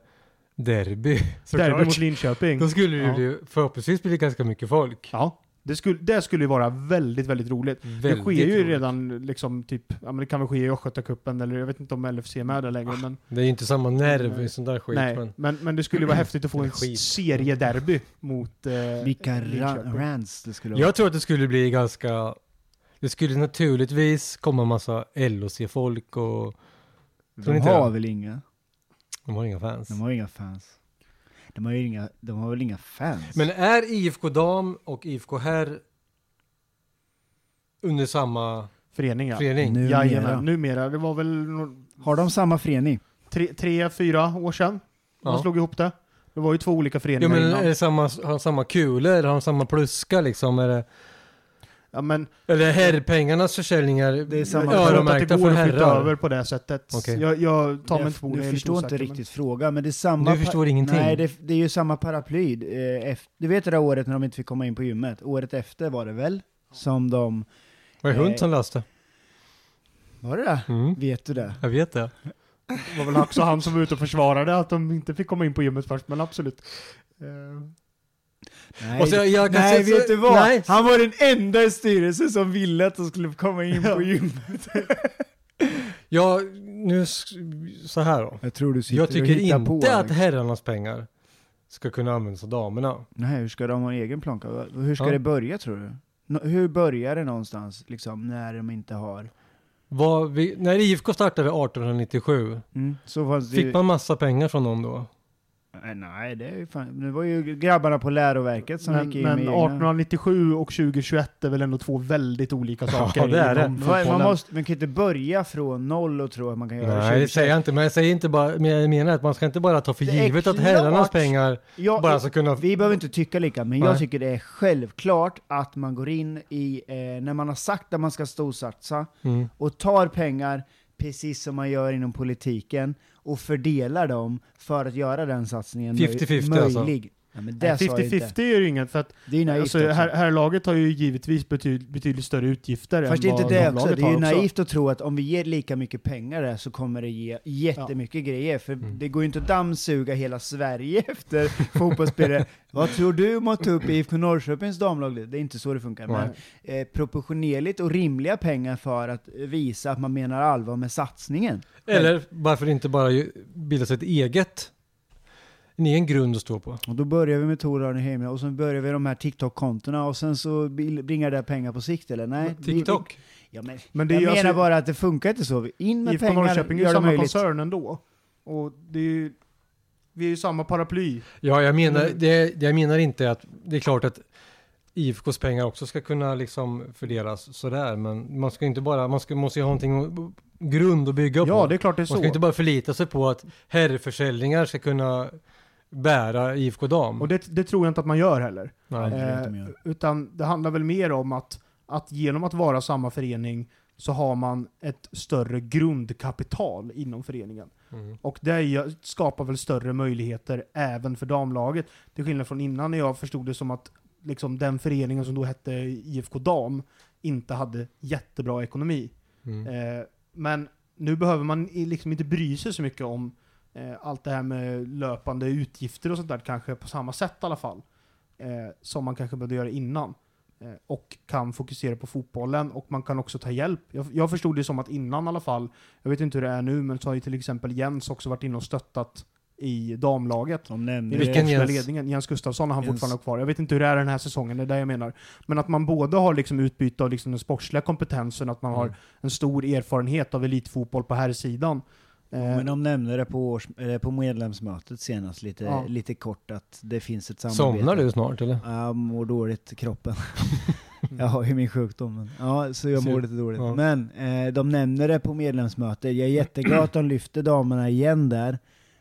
[SPEAKER 3] derby.
[SPEAKER 1] Derby
[SPEAKER 3] Såklart.
[SPEAKER 1] mot Linköping.
[SPEAKER 3] Då skulle det
[SPEAKER 1] Ja.
[SPEAKER 3] ju förhoppningsvis bli ganska mycket folk.
[SPEAKER 1] Ja, det skulle, det skulle ju vara väldigt, väldigt roligt. det
[SPEAKER 3] Väldigt
[SPEAKER 1] sker ju
[SPEAKER 3] roligt.
[SPEAKER 1] redan liksom typ, ja men det kan väl ske i Östgötacupen eller jag vet inte om LFC är med där längre men
[SPEAKER 3] Det är ju inte samma nerv i sån där Ah, skit.
[SPEAKER 1] nej.
[SPEAKER 3] Men
[SPEAKER 1] Men, men det skulle ju vara häftigt att få en
[SPEAKER 3] Skit.
[SPEAKER 1] seriederby mot eh,
[SPEAKER 2] Vilka ra-
[SPEAKER 1] Linköping.
[SPEAKER 2] rants det skulle vara.
[SPEAKER 3] jag tror att det skulle bli ganska... Det skulle naturligtvis komma massa LOC-folk och tror
[SPEAKER 2] De
[SPEAKER 3] inte
[SPEAKER 2] har
[SPEAKER 3] det.
[SPEAKER 2] väl inga?
[SPEAKER 3] de har inga fans.
[SPEAKER 2] De har inga fans. De har, ju inga, de har väl inga fans?
[SPEAKER 3] Men är IFK Dam och IFK Herr under samma
[SPEAKER 1] Förening ja.
[SPEAKER 3] förening?
[SPEAKER 2] Numera.
[SPEAKER 1] Jajamän, numera. Det var väl no-
[SPEAKER 2] Har de samma förening?
[SPEAKER 1] tre, tre, fyra år sedan man
[SPEAKER 3] Ja.
[SPEAKER 1] slog ihop det. Det var ju två olika
[SPEAKER 3] Jo
[SPEAKER 1] föreningar
[SPEAKER 3] men eh,
[SPEAKER 1] innan.
[SPEAKER 3] är det samma, har de samma kulor? Har de samma pluska liksom? Är det,
[SPEAKER 1] ja, men
[SPEAKER 3] eller herrpengarnas försäljningar
[SPEAKER 2] Det är
[SPEAKER 1] jag
[SPEAKER 2] samma-
[SPEAKER 1] tror inte att det
[SPEAKER 3] öronmärkta
[SPEAKER 1] går
[SPEAKER 3] för
[SPEAKER 1] att flytta
[SPEAKER 3] herrar?
[SPEAKER 1] över på det sättet.
[SPEAKER 3] Okej.
[SPEAKER 1] Jag, jag tar mig
[SPEAKER 2] Jag
[SPEAKER 1] inte på orden,
[SPEAKER 2] nu
[SPEAKER 1] jag är lite
[SPEAKER 2] förstår inte
[SPEAKER 1] osäker, men-
[SPEAKER 2] riktigt frågan, men det är samma...
[SPEAKER 3] Du
[SPEAKER 2] pa-
[SPEAKER 3] förstår ingenting.
[SPEAKER 2] Nej, det, det är ju samma paraply. Eh, ef- du vet det där året när de inte fick komma in på gymmet? Året efter var det väl? Som de...
[SPEAKER 3] Var det
[SPEAKER 2] Nej.
[SPEAKER 3] hund som löste?
[SPEAKER 2] Var det det?
[SPEAKER 3] Mm.
[SPEAKER 2] Vet du det?
[SPEAKER 3] Jag vet det.
[SPEAKER 1] Det var väl också han som var ute och försvarade att de inte fick komma in på gymmet först, men absolut. Eh,
[SPEAKER 2] Nej,
[SPEAKER 3] Och så- jag kan
[SPEAKER 2] nej
[SPEAKER 3] säga så-
[SPEAKER 2] vet du vad?
[SPEAKER 3] nej.
[SPEAKER 2] Han var den enda i styrelsen som ville att de skulle komma in på gymmet.
[SPEAKER 3] Ja, nu s- så här då.
[SPEAKER 2] Jag tror du sitter
[SPEAKER 3] Jag tycker
[SPEAKER 2] och hittar på.
[SPEAKER 3] inte att
[SPEAKER 2] Alex.
[SPEAKER 3] herrarnas pengar ska kunna användas av damerna.
[SPEAKER 2] Nej, hur ska de ha en egen planka? Hur ska
[SPEAKER 3] Ja.
[SPEAKER 2] det börja tror du? Nå- hur börjar det någonstans, liksom, när de inte har...
[SPEAKER 3] Vad vi, när IFK startade 1897,
[SPEAKER 2] Mm. Så fanns det ju...
[SPEAKER 3] fick man massa pengar från dem då?
[SPEAKER 2] Nej, Nej, det, är ju fan, det var ju grabbarna på läroverket som
[SPEAKER 1] men
[SPEAKER 2] gick in
[SPEAKER 1] men
[SPEAKER 2] med egna...
[SPEAKER 1] 1897 och 2021 är väl ändå två väldigt olika saker.
[SPEAKER 3] Ja, det är det.
[SPEAKER 1] inom
[SPEAKER 2] Man,
[SPEAKER 1] fotbollen.
[SPEAKER 2] man, måste, man kan inte börja från noll och tro att man kan göra
[SPEAKER 3] Nej, det
[SPEAKER 2] 20.
[SPEAKER 3] säger jag inte. Men jag, säger inte bara, men jag menar att man ska inte bara ta för
[SPEAKER 2] Det är
[SPEAKER 3] givet att
[SPEAKER 2] klart.
[SPEAKER 3] herrarnas pengar
[SPEAKER 2] Ja,
[SPEAKER 3] bara ska kunna...
[SPEAKER 2] Vi behöver inte tycka lika, men
[SPEAKER 3] Nej.
[SPEAKER 2] jag tycker det är självklart att man går in i, eh, när man har sagt att man ska storsatsa,
[SPEAKER 3] Mm.
[SPEAKER 2] och tar pengar, precis som man gör inom politiken, och fördelar dem för att göra den satsningen möj-
[SPEAKER 3] 50-50 alltså.
[SPEAKER 2] möjlig. Ja, men det
[SPEAKER 1] Nej,
[SPEAKER 2] sa jag inte.
[SPEAKER 1] 50-50 är ju inget, för att
[SPEAKER 2] Det är ju naivt
[SPEAKER 1] alltså,
[SPEAKER 2] också.
[SPEAKER 1] här, här laget har ju givetvis betyd, betydligt större utgifter
[SPEAKER 2] Fast det
[SPEAKER 1] än
[SPEAKER 2] är inte
[SPEAKER 1] vad
[SPEAKER 2] det också,
[SPEAKER 1] damlaget
[SPEAKER 2] det är ju
[SPEAKER 1] har också.
[SPEAKER 2] naivt att tro att om vi ger lika mycket pengar där så kommer det ge jättemycket grejer, för
[SPEAKER 3] Mm.
[SPEAKER 2] det går ju inte att dammsuga hela Sverige efter fotbollsspelare. Vad tror du om att ta upp IFK Norrköpings damlag? Det är inte så det funkar, men eh, proportionerligt och rimliga pengar för att visa att man menar allvar med satsningen.
[SPEAKER 3] Eller varför inte bara ju- bilda sig ett eget? En egen grund att stå på.
[SPEAKER 2] Och då börjar vi med Tor Arne Heimla, och sen börjar vi de här TikTok-kontona, och sen så bil- bringar det pengar på sikt, eller? Nej, vi-
[SPEAKER 3] TikTok.
[SPEAKER 2] vi- Ja, men,
[SPEAKER 1] Men det är
[SPEAKER 2] jag
[SPEAKER 1] ju
[SPEAKER 2] menar
[SPEAKER 1] alltså,
[SPEAKER 2] bara att det funkar inte så. In med
[SPEAKER 1] IFK
[SPEAKER 2] pengar,
[SPEAKER 1] Norrköping är ju
[SPEAKER 2] gör det
[SPEAKER 1] samma
[SPEAKER 2] möjligt.
[SPEAKER 1] koncern ändå. Och det är ju, vi är ju samma paraply.
[SPEAKER 3] Ja, jag menar,
[SPEAKER 1] Mm.
[SPEAKER 3] det, det jag menar inte att det är klart att IFKs pengar också ska kunna liksom fördelas sådär, men man ska inte bara, man ska, måste ju ha någonting att- grund att bygga på.
[SPEAKER 1] Ja, det är klart det är
[SPEAKER 3] man
[SPEAKER 1] så.
[SPEAKER 3] ska inte bara förlita sig på att herrförsäljningar ska kunna bära IFK Dam.
[SPEAKER 1] Och det, det tror jag inte att man gör heller.
[SPEAKER 3] Nej.
[SPEAKER 2] det vet de
[SPEAKER 1] Eh,
[SPEAKER 2] gör.
[SPEAKER 1] utan det handlar väl mer om att, att genom att vara samma förening så har man ett större grundkapital inom föreningen.
[SPEAKER 3] Mm.
[SPEAKER 1] Och det gör- skapar väl större möjligheter även för damlaget. Till skillnad från innan när jag förstod det som att liksom, den föreningen som då hette IFK Dam inte hade jättebra ekonomi.
[SPEAKER 3] Mm.
[SPEAKER 1] Eh, men nu behöver man i- liksom inte bry sig så mycket om eh, allt det här med löpande utgifter och sånt där kanske på samma sätt i alla fall. Eh, som man kanske behövde göra innan. Eh, och kan fokusera på fotbollen och man kan också ta hjälp. Jag, jag förstod det som att innan i alla fall, jag vet inte hur det är nu, men så har ju till exempel Jens också varit inne och stöttat i damlaget.
[SPEAKER 2] De
[SPEAKER 1] I
[SPEAKER 2] nämnde
[SPEAKER 3] Vilken
[SPEAKER 1] Vilken Jens?
[SPEAKER 3] Jens?
[SPEAKER 1] Ledningen. Jens Gustafsson, när han
[SPEAKER 2] Jens.
[SPEAKER 1] fortfarande är kvar. Jag vet inte hur det är den här säsongen, det är det jag menar. Men att man både har liksom utbyte av liksom den sportsliga kompetensen, att man
[SPEAKER 3] Mm.
[SPEAKER 1] har en stor erfarenhet av elitfotboll på här sidan. Eh,
[SPEAKER 2] Men de nämnde det på, års, eller på medlemsmötet senast lite,
[SPEAKER 1] Ja.
[SPEAKER 2] lite kort att det finns ett samarbete.
[SPEAKER 3] Somnar du snart eller?
[SPEAKER 2] Jag mår dåligt i kroppen. jag har ju min sjukdom. Men, ja, så jag
[SPEAKER 3] Så-
[SPEAKER 2] mår lite dåligt.
[SPEAKER 3] ja.
[SPEAKER 2] Men eh, de nämnde det på medlemsmötet. Jag är jätteglad att de lyfte damerna igen där.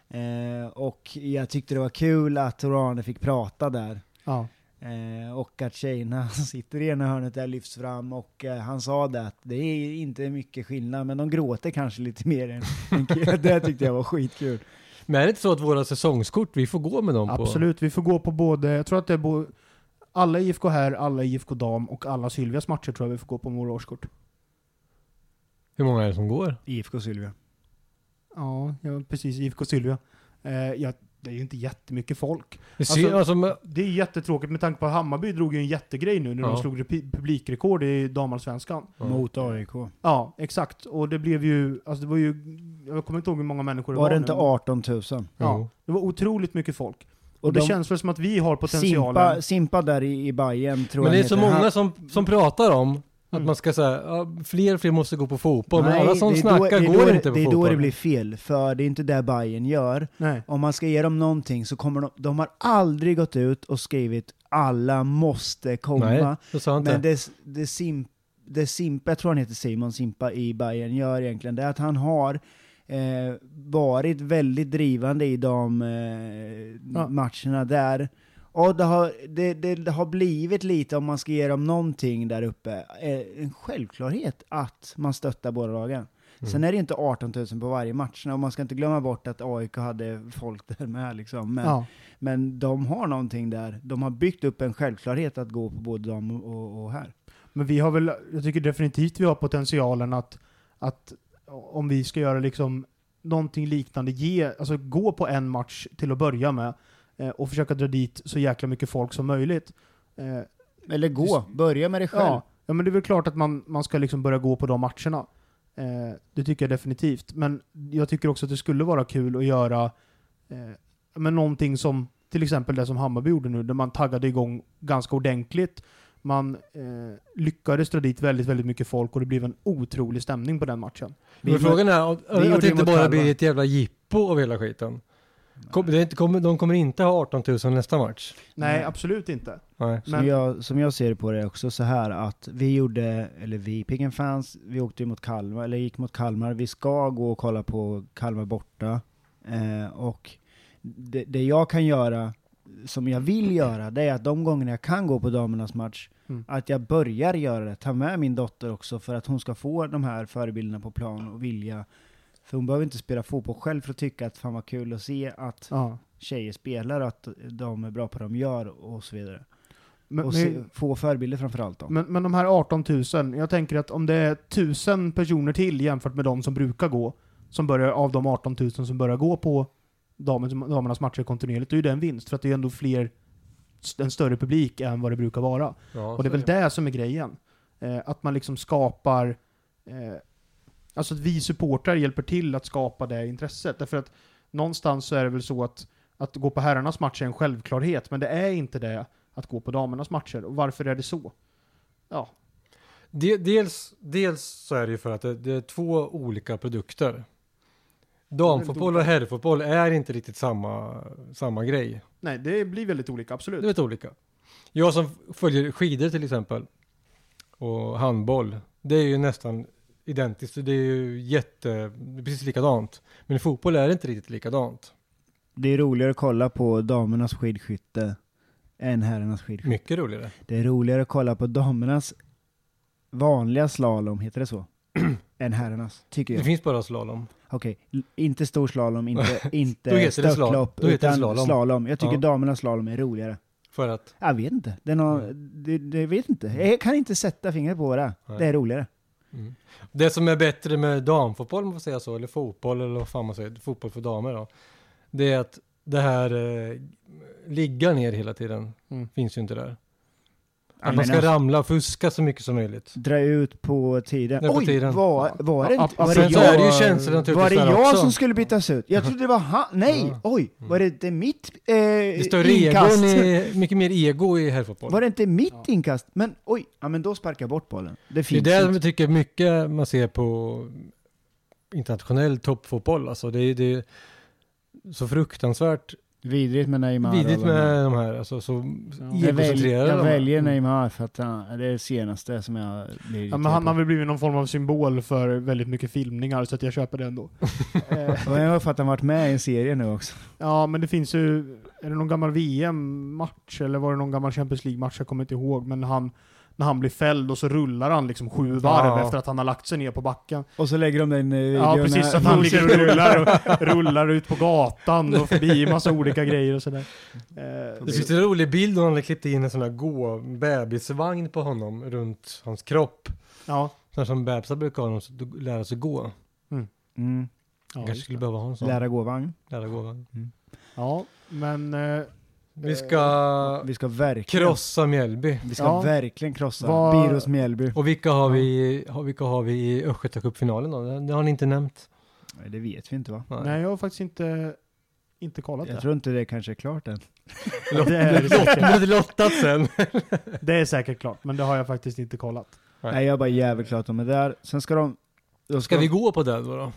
[SPEAKER 2] Eh, och jag tyckte det var kul att Torane fick prata där.
[SPEAKER 1] ja.
[SPEAKER 2] Eh, och att tjejerna sitter i ena hörnet där lyfts fram och eh, han sa det att det är inte mycket skillnad men de gråter kanske lite mer än, än killar. Det tyckte jag var skitkul.
[SPEAKER 3] Men är det inte så att våra säsongskort, vi får gå med dem på?
[SPEAKER 1] Absolut, vi får gå på både, jag tror att det är bo, alla IFK här, alla IFK dam och alla Sylvias matcher tror jag vi får gå på med våra årskort.
[SPEAKER 3] Hur många är det som går?
[SPEAKER 2] IFK Sylvia.
[SPEAKER 1] Ja, ja precis. IFK Sylvia. Eh, jag det är ju inte jättemycket folk.
[SPEAKER 3] Det ser-
[SPEAKER 1] Alltså-
[SPEAKER 3] alltså, men-
[SPEAKER 1] Det är jättetråkigt med tanke på att Hammarby drog ju en jättegrej nu när
[SPEAKER 3] Ja.
[SPEAKER 1] de slog repi- publikrekord i damallsvenskan.
[SPEAKER 2] Mot AIK.
[SPEAKER 1] Ja, exakt. Och det blev ju, alltså det var ju, jag kommer inte ihåg hur många människor det var.
[SPEAKER 2] Var det
[SPEAKER 1] nu.
[SPEAKER 2] inte 18 000?
[SPEAKER 1] Ja, det var otroligt mycket folk. Och,
[SPEAKER 2] Och
[SPEAKER 1] det
[SPEAKER 2] de-
[SPEAKER 1] känns väl som att vi har potentialen.
[SPEAKER 2] Simpa, Simpa där i, i Bayern tror jag
[SPEAKER 3] Men det är
[SPEAKER 2] han
[SPEAKER 3] så
[SPEAKER 2] heter.
[SPEAKER 3] många
[SPEAKER 2] Han-
[SPEAKER 3] som, som pratar om att
[SPEAKER 1] Mm.
[SPEAKER 3] man ska säga ja, fler och fler måste gå på fotboll,
[SPEAKER 2] Nej,
[SPEAKER 3] men alla som
[SPEAKER 2] det är då-
[SPEAKER 3] snackar
[SPEAKER 2] det är
[SPEAKER 3] går
[SPEAKER 2] då,
[SPEAKER 3] inte på
[SPEAKER 2] Det är
[SPEAKER 3] fotboll.
[SPEAKER 2] då det blir fel, för det är inte det Bayern gör.
[SPEAKER 1] Nej.
[SPEAKER 2] Om man ska ge dem någonting så kommer de, de har aldrig gått ut och skrivit alla måste
[SPEAKER 3] Nej,
[SPEAKER 2] komma.
[SPEAKER 3] det sa jag inte.
[SPEAKER 2] Men det, det, Sim, det Simpa, jag tror han heter Simon Simpa i Bayern gör egentligen, det är att han har eh, varit väldigt drivande i de eh,
[SPEAKER 1] Ja.
[SPEAKER 2] matcherna där. Och det har, det, det, det har blivit lite, om man ska ge dem någonting där uppe, eh, en självklarhet att man stöttar båda lagen.
[SPEAKER 1] Mm.
[SPEAKER 2] Sen är det inte 18 000 på varje match, och man ska inte glömma bort att AIK hade folk där med liksom. Men,
[SPEAKER 1] Ja.
[SPEAKER 2] men de har någonting där. De har byggt upp en självklarhet att gå på både dem och, och här.
[SPEAKER 1] Men vi har väl, jag tycker definitivt vi har potentialen att, att om vi ska göra liksom någonting liknande, ge, alltså gå på en match till att börja med eh, och försöka dra dit så jäkla mycket folk som möjligt. Eh,
[SPEAKER 2] Eller gå, börja med dig själv.
[SPEAKER 1] Ja, ja, men det är väl klart att man, man ska liksom börja gå på de matcherna. Eh, det tycker jag definitivt. Men jag tycker också att det skulle vara kul att göra eh, men någonting som till exempel det som Hammarby gjorde nu, där man taggade igång ganska ordentligt. Man eh, lyckades dra dit väldigt, väldigt mycket folk och det blev en otrolig stämning på den matchen.
[SPEAKER 3] Men frågan är att,
[SPEAKER 2] gjorde
[SPEAKER 3] att det
[SPEAKER 2] ju
[SPEAKER 3] inte
[SPEAKER 2] mot
[SPEAKER 3] bara
[SPEAKER 2] Kalmar.
[SPEAKER 3] blir ett jävla jippo av hela skiten. Kom, det är inte, kommer- de kommer inte ha 18 000 nästa match.
[SPEAKER 1] Nej,
[SPEAKER 2] Nej.
[SPEAKER 1] absolut inte.
[SPEAKER 3] Nej.
[SPEAKER 2] Som,
[SPEAKER 1] Men-
[SPEAKER 2] jag, som jag ser det på det är också så här att vi gjorde, eller vi, Picken Fans, vi åkte ju mot Kalmar, eller gick mot Kalmar. Vi ska gå och kolla på Kalmar borta. Eh, och det, det jag kan göra, som jag vill göra, det är att de gångerna jag kan gå på damernas match,
[SPEAKER 1] Mm.
[SPEAKER 2] att jag börjar göra det. Ta med min dotter också för att hon ska få de här förebilderna på plan och vilja. För hon behöver inte spela fotboll själv för att tycka att fan vad kul att se att
[SPEAKER 1] Ja.
[SPEAKER 2] tjejer spelar, att de är bra på vad de gör och så vidare
[SPEAKER 1] Men,
[SPEAKER 2] och se, få förebilder framförallt då.
[SPEAKER 1] men, men de här 18 000, jag tänker att om det är 1000 personer till jämfört med de som brukar gå, som börjar, av de 18 000 som börjar gå på damens, damernas matcher kontinuerligt, då är det en vinst. För att det är ändå fler, en större publik än vad det brukar vara.
[SPEAKER 3] Ja,
[SPEAKER 1] Och det är väl det som är grejen. Eh, att man liksom skapar, eh, alltså att vi supportrar hjälper till att skapa det intresset. Därför att någonstans så är det väl så att, att gå på herrarnas matcher är en självklarhet, men det är inte det att gå på damernas matcher. Och varför är det så? Ja,
[SPEAKER 3] De- Dels, dels så är det ju för att det, det är två olika produkter. Damfotboll och herrfotboll är inte riktigt samma, samma grej.
[SPEAKER 1] nej det blir väldigt olika, absolut.
[SPEAKER 3] Det är lite olika. Jag som följer skidor till exempel och handboll, det är ju nästan identiskt. Det är ju jätte, det är precis likadant. Men i fotboll är det inte riktigt likadant.
[SPEAKER 2] Det är roligare att kolla på damernas skidskytte än herrarnas skidskytte.
[SPEAKER 3] Mycket roligare.
[SPEAKER 2] Det är roligare att kolla på damernas vanliga slalom, heter det så? än herrarnas, tycker
[SPEAKER 3] Det
[SPEAKER 2] jag.
[SPEAKER 3] finns bara slalom.
[SPEAKER 2] Okej, l- inte stor slalom, inte,
[SPEAKER 3] Då
[SPEAKER 2] inte
[SPEAKER 3] heter det slalom.
[SPEAKER 2] störtlopp,
[SPEAKER 3] Då heter det
[SPEAKER 2] utan
[SPEAKER 3] slalom.
[SPEAKER 2] slalom. Jag tycker
[SPEAKER 3] Ja.
[SPEAKER 2] damernas slalom är roligare.
[SPEAKER 3] För att
[SPEAKER 2] Jag vet inte. Det är någon, det, det vet inte. Jag kan inte sätta fingret på det.
[SPEAKER 3] Mm. Nej.
[SPEAKER 2] Det är roligare.
[SPEAKER 3] mm. Det som är bättre med damfotboll, om man får säga så, eller fotboll, eller vad fan man säger, fotboll för damer då, det är att det här eh, ligga ner hela tiden
[SPEAKER 1] Mm.
[SPEAKER 3] finns ju inte där.
[SPEAKER 2] Jag
[SPEAKER 3] Att man ska
[SPEAKER 2] menar-
[SPEAKER 3] ramla och fuska så mycket som möjligt.
[SPEAKER 2] Dra ut på tiden.
[SPEAKER 3] Dra ut på
[SPEAKER 2] Oj,
[SPEAKER 3] tiden.
[SPEAKER 2] Var, var det
[SPEAKER 1] Ja,
[SPEAKER 2] inte?
[SPEAKER 1] ab-
[SPEAKER 2] Var det
[SPEAKER 3] Sen så
[SPEAKER 2] jag?
[SPEAKER 3] är det ju känslor
[SPEAKER 2] Var det
[SPEAKER 3] naturligtvis där
[SPEAKER 2] jag
[SPEAKER 3] också.
[SPEAKER 2] som skulle bytas ut? Jag trodde det var han. Nej,
[SPEAKER 3] Ja. Mm.
[SPEAKER 2] oj! Var det inte mitt eh,
[SPEAKER 3] Det är större
[SPEAKER 2] inkast?
[SPEAKER 3] egon i, mycket mer ego i herrfotboll.
[SPEAKER 2] Var det inte mitt inkast? Men oj, ja men då sparkar jag bort bollen. Det
[SPEAKER 3] Det är
[SPEAKER 2] finns
[SPEAKER 3] det
[SPEAKER 2] inte.
[SPEAKER 3] jag tycker mycket man ser på internationell toppfotboll. Alltså det, är- det är så fruktansvärt
[SPEAKER 2] Vidrigt med Neymar.
[SPEAKER 3] vidrigt
[SPEAKER 2] och vad det är.
[SPEAKER 3] med de här. Alltså, så
[SPEAKER 2] Jag, väl,
[SPEAKER 3] egocentrerade
[SPEAKER 2] jag
[SPEAKER 3] de är.
[SPEAKER 2] väljer Neymar för att han, det är det senaste som jag blir
[SPEAKER 1] Ja,
[SPEAKER 2] irriterad
[SPEAKER 1] men han har
[SPEAKER 2] på.
[SPEAKER 1] väl blivit någon form av symbol för väldigt mycket filmningar, så att jag köper det ändå. eh,
[SPEAKER 2] Och jag har för att han varit med i en serie nu också.
[SPEAKER 1] Ja, men det finns ju, är det någon gammal VM-match eller var det någon gammal Champions League-match? Jag kommer inte ihåg, men han, när han blir fälld och så rullar han liksom sju varv
[SPEAKER 3] Ja.
[SPEAKER 1] efter att han har lagt sig ner på backen.
[SPEAKER 2] Och så lägger de den eh,
[SPEAKER 1] Ja,
[SPEAKER 2] videon
[SPEAKER 1] precis,
[SPEAKER 2] här.
[SPEAKER 1] så att han ligger och rullar, och rullar ut på gatan och förbi massa olika grejer och sådär. Eh,
[SPEAKER 3] Det finns en rolig bild när han hade klippt in en sån här gå bebisvagn på honom runt hans kropp.
[SPEAKER 1] ja.
[SPEAKER 3] Sån här som bebisar brukar ha när de ska lära sig gå.
[SPEAKER 2] Mm.
[SPEAKER 1] Ja,
[SPEAKER 3] kanske
[SPEAKER 1] just
[SPEAKER 3] skulle
[SPEAKER 1] det.
[SPEAKER 3] behöva ha en sån. Lära,
[SPEAKER 2] Eh, Lära gå vagn.
[SPEAKER 3] gå. va?
[SPEAKER 1] ja, Men eh,
[SPEAKER 3] Vi ska
[SPEAKER 2] Vi ska verkligen,
[SPEAKER 3] krossa Mjällby.
[SPEAKER 2] vi ska
[SPEAKER 1] Ja.
[SPEAKER 2] verkligen krossa
[SPEAKER 1] Vad-
[SPEAKER 2] Byrås Mjällby.
[SPEAKER 3] Och vilka har vi, har- vilka har vi i Östgötacupfinalen då? Det- Det har ni inte nämnt.
[SPEAKER 2] Nej, det vet vi inte va?
[SPEAKER 1] nej, jag har faktiskt inte, inte kollat
[SPEAKER 2] Jag
[SPEAKER 1] det.
[SPEAKER 2] tror inte det kanske är klart än.
[SPEAKER 3] Lott,
[SPEAKER 1] Det är det
[SPEAKER 3] lott,
[SPEAKER 1] säkert.
[SPEAKER 3] det lottat sen.
[SPEAKER 1] Det är säkert klart, men det har jag faktiskt inte kollat.
[SPEAKER 3] Nej.
[SPEAKER 2] Nej, jag är bara jävligt klart om det där. Sen ska de... Då
[SPEAKER 3] Ska vi gå på det då? då?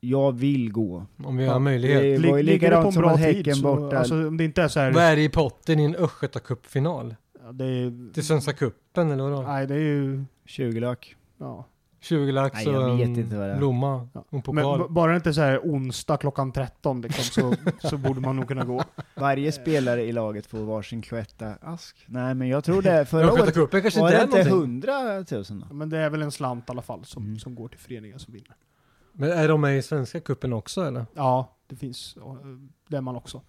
[SPEAKER 2] Jag vill gå.
[SPEAKER 3] Om vi
[SPEAKER 1] Ja,
[SPEAKER 3] har möjlighet.
[SPEAKER 2] Det var ju
[SPEAKER 1] Lig- ligger det på en
[SPEAKER 2] likadant som
[SPEAKER 1] bra
[SPEAKER 2] att
[SPEAKER 1] tid,
[SPEAKER 2] Häcken
[SPEAKER 1] så,
[SPEAKER 2] borta.
[SPEAKER 1] alltså om det inte är så här...
[SPEAKER 3] Vad är det i potten i en Östgötacupfinal?
[SPEAKER 1] ja, Det är,
[SPEAKER 3] Till Svenska Cupen eller vadå?
[SPEAKER 1] nej, det är ju...
[SPEAKER 2] 20 lack.
[SPEAKER 1] Ja.
[SPEAKER 3] 20 lax
[SPEAKER 2] Nej, jag
[SPEAKER 3] och
[SPEAKER 2] vet inte vad det är.
[SPEAKER 3] en blomma
[SPEAKER 1] Ja.
[SPEAKER 3] och en
[SPEAKER 1] Men b-
[SPEAKER 3] pokal.
[SPEAKER 1] bara det inte är så här onsdag klockan 13 liksom, så, så borde man nog kunna gå. Eh.
[SPEAKER 2] Varje spelare i laget får varsin Cloetta-ask. Nej, men jag tror det är förra året.
[SPEAKER 3] Östgötacupen kanske
[SPEAKER 2] Var
[SPEAKER 3] inte
[SPEAKER 2] det
[SPEAKER 3] är
[SPEAKER 2] inte
[SPEAKER 3] någonting.
[SPEAKER 2] 100 000 då?
[SPEAKER 1] Men det är väl en slant i alla fall som,
[SPEAKER 2] Mm.
[SPEAKER 1] som går till föreningen som vinner.
[SPEAKER 3] Men är de med i Svenska Cupen också eller?
[SPEAKER 1] Ja, det finns. eh, Det är man också.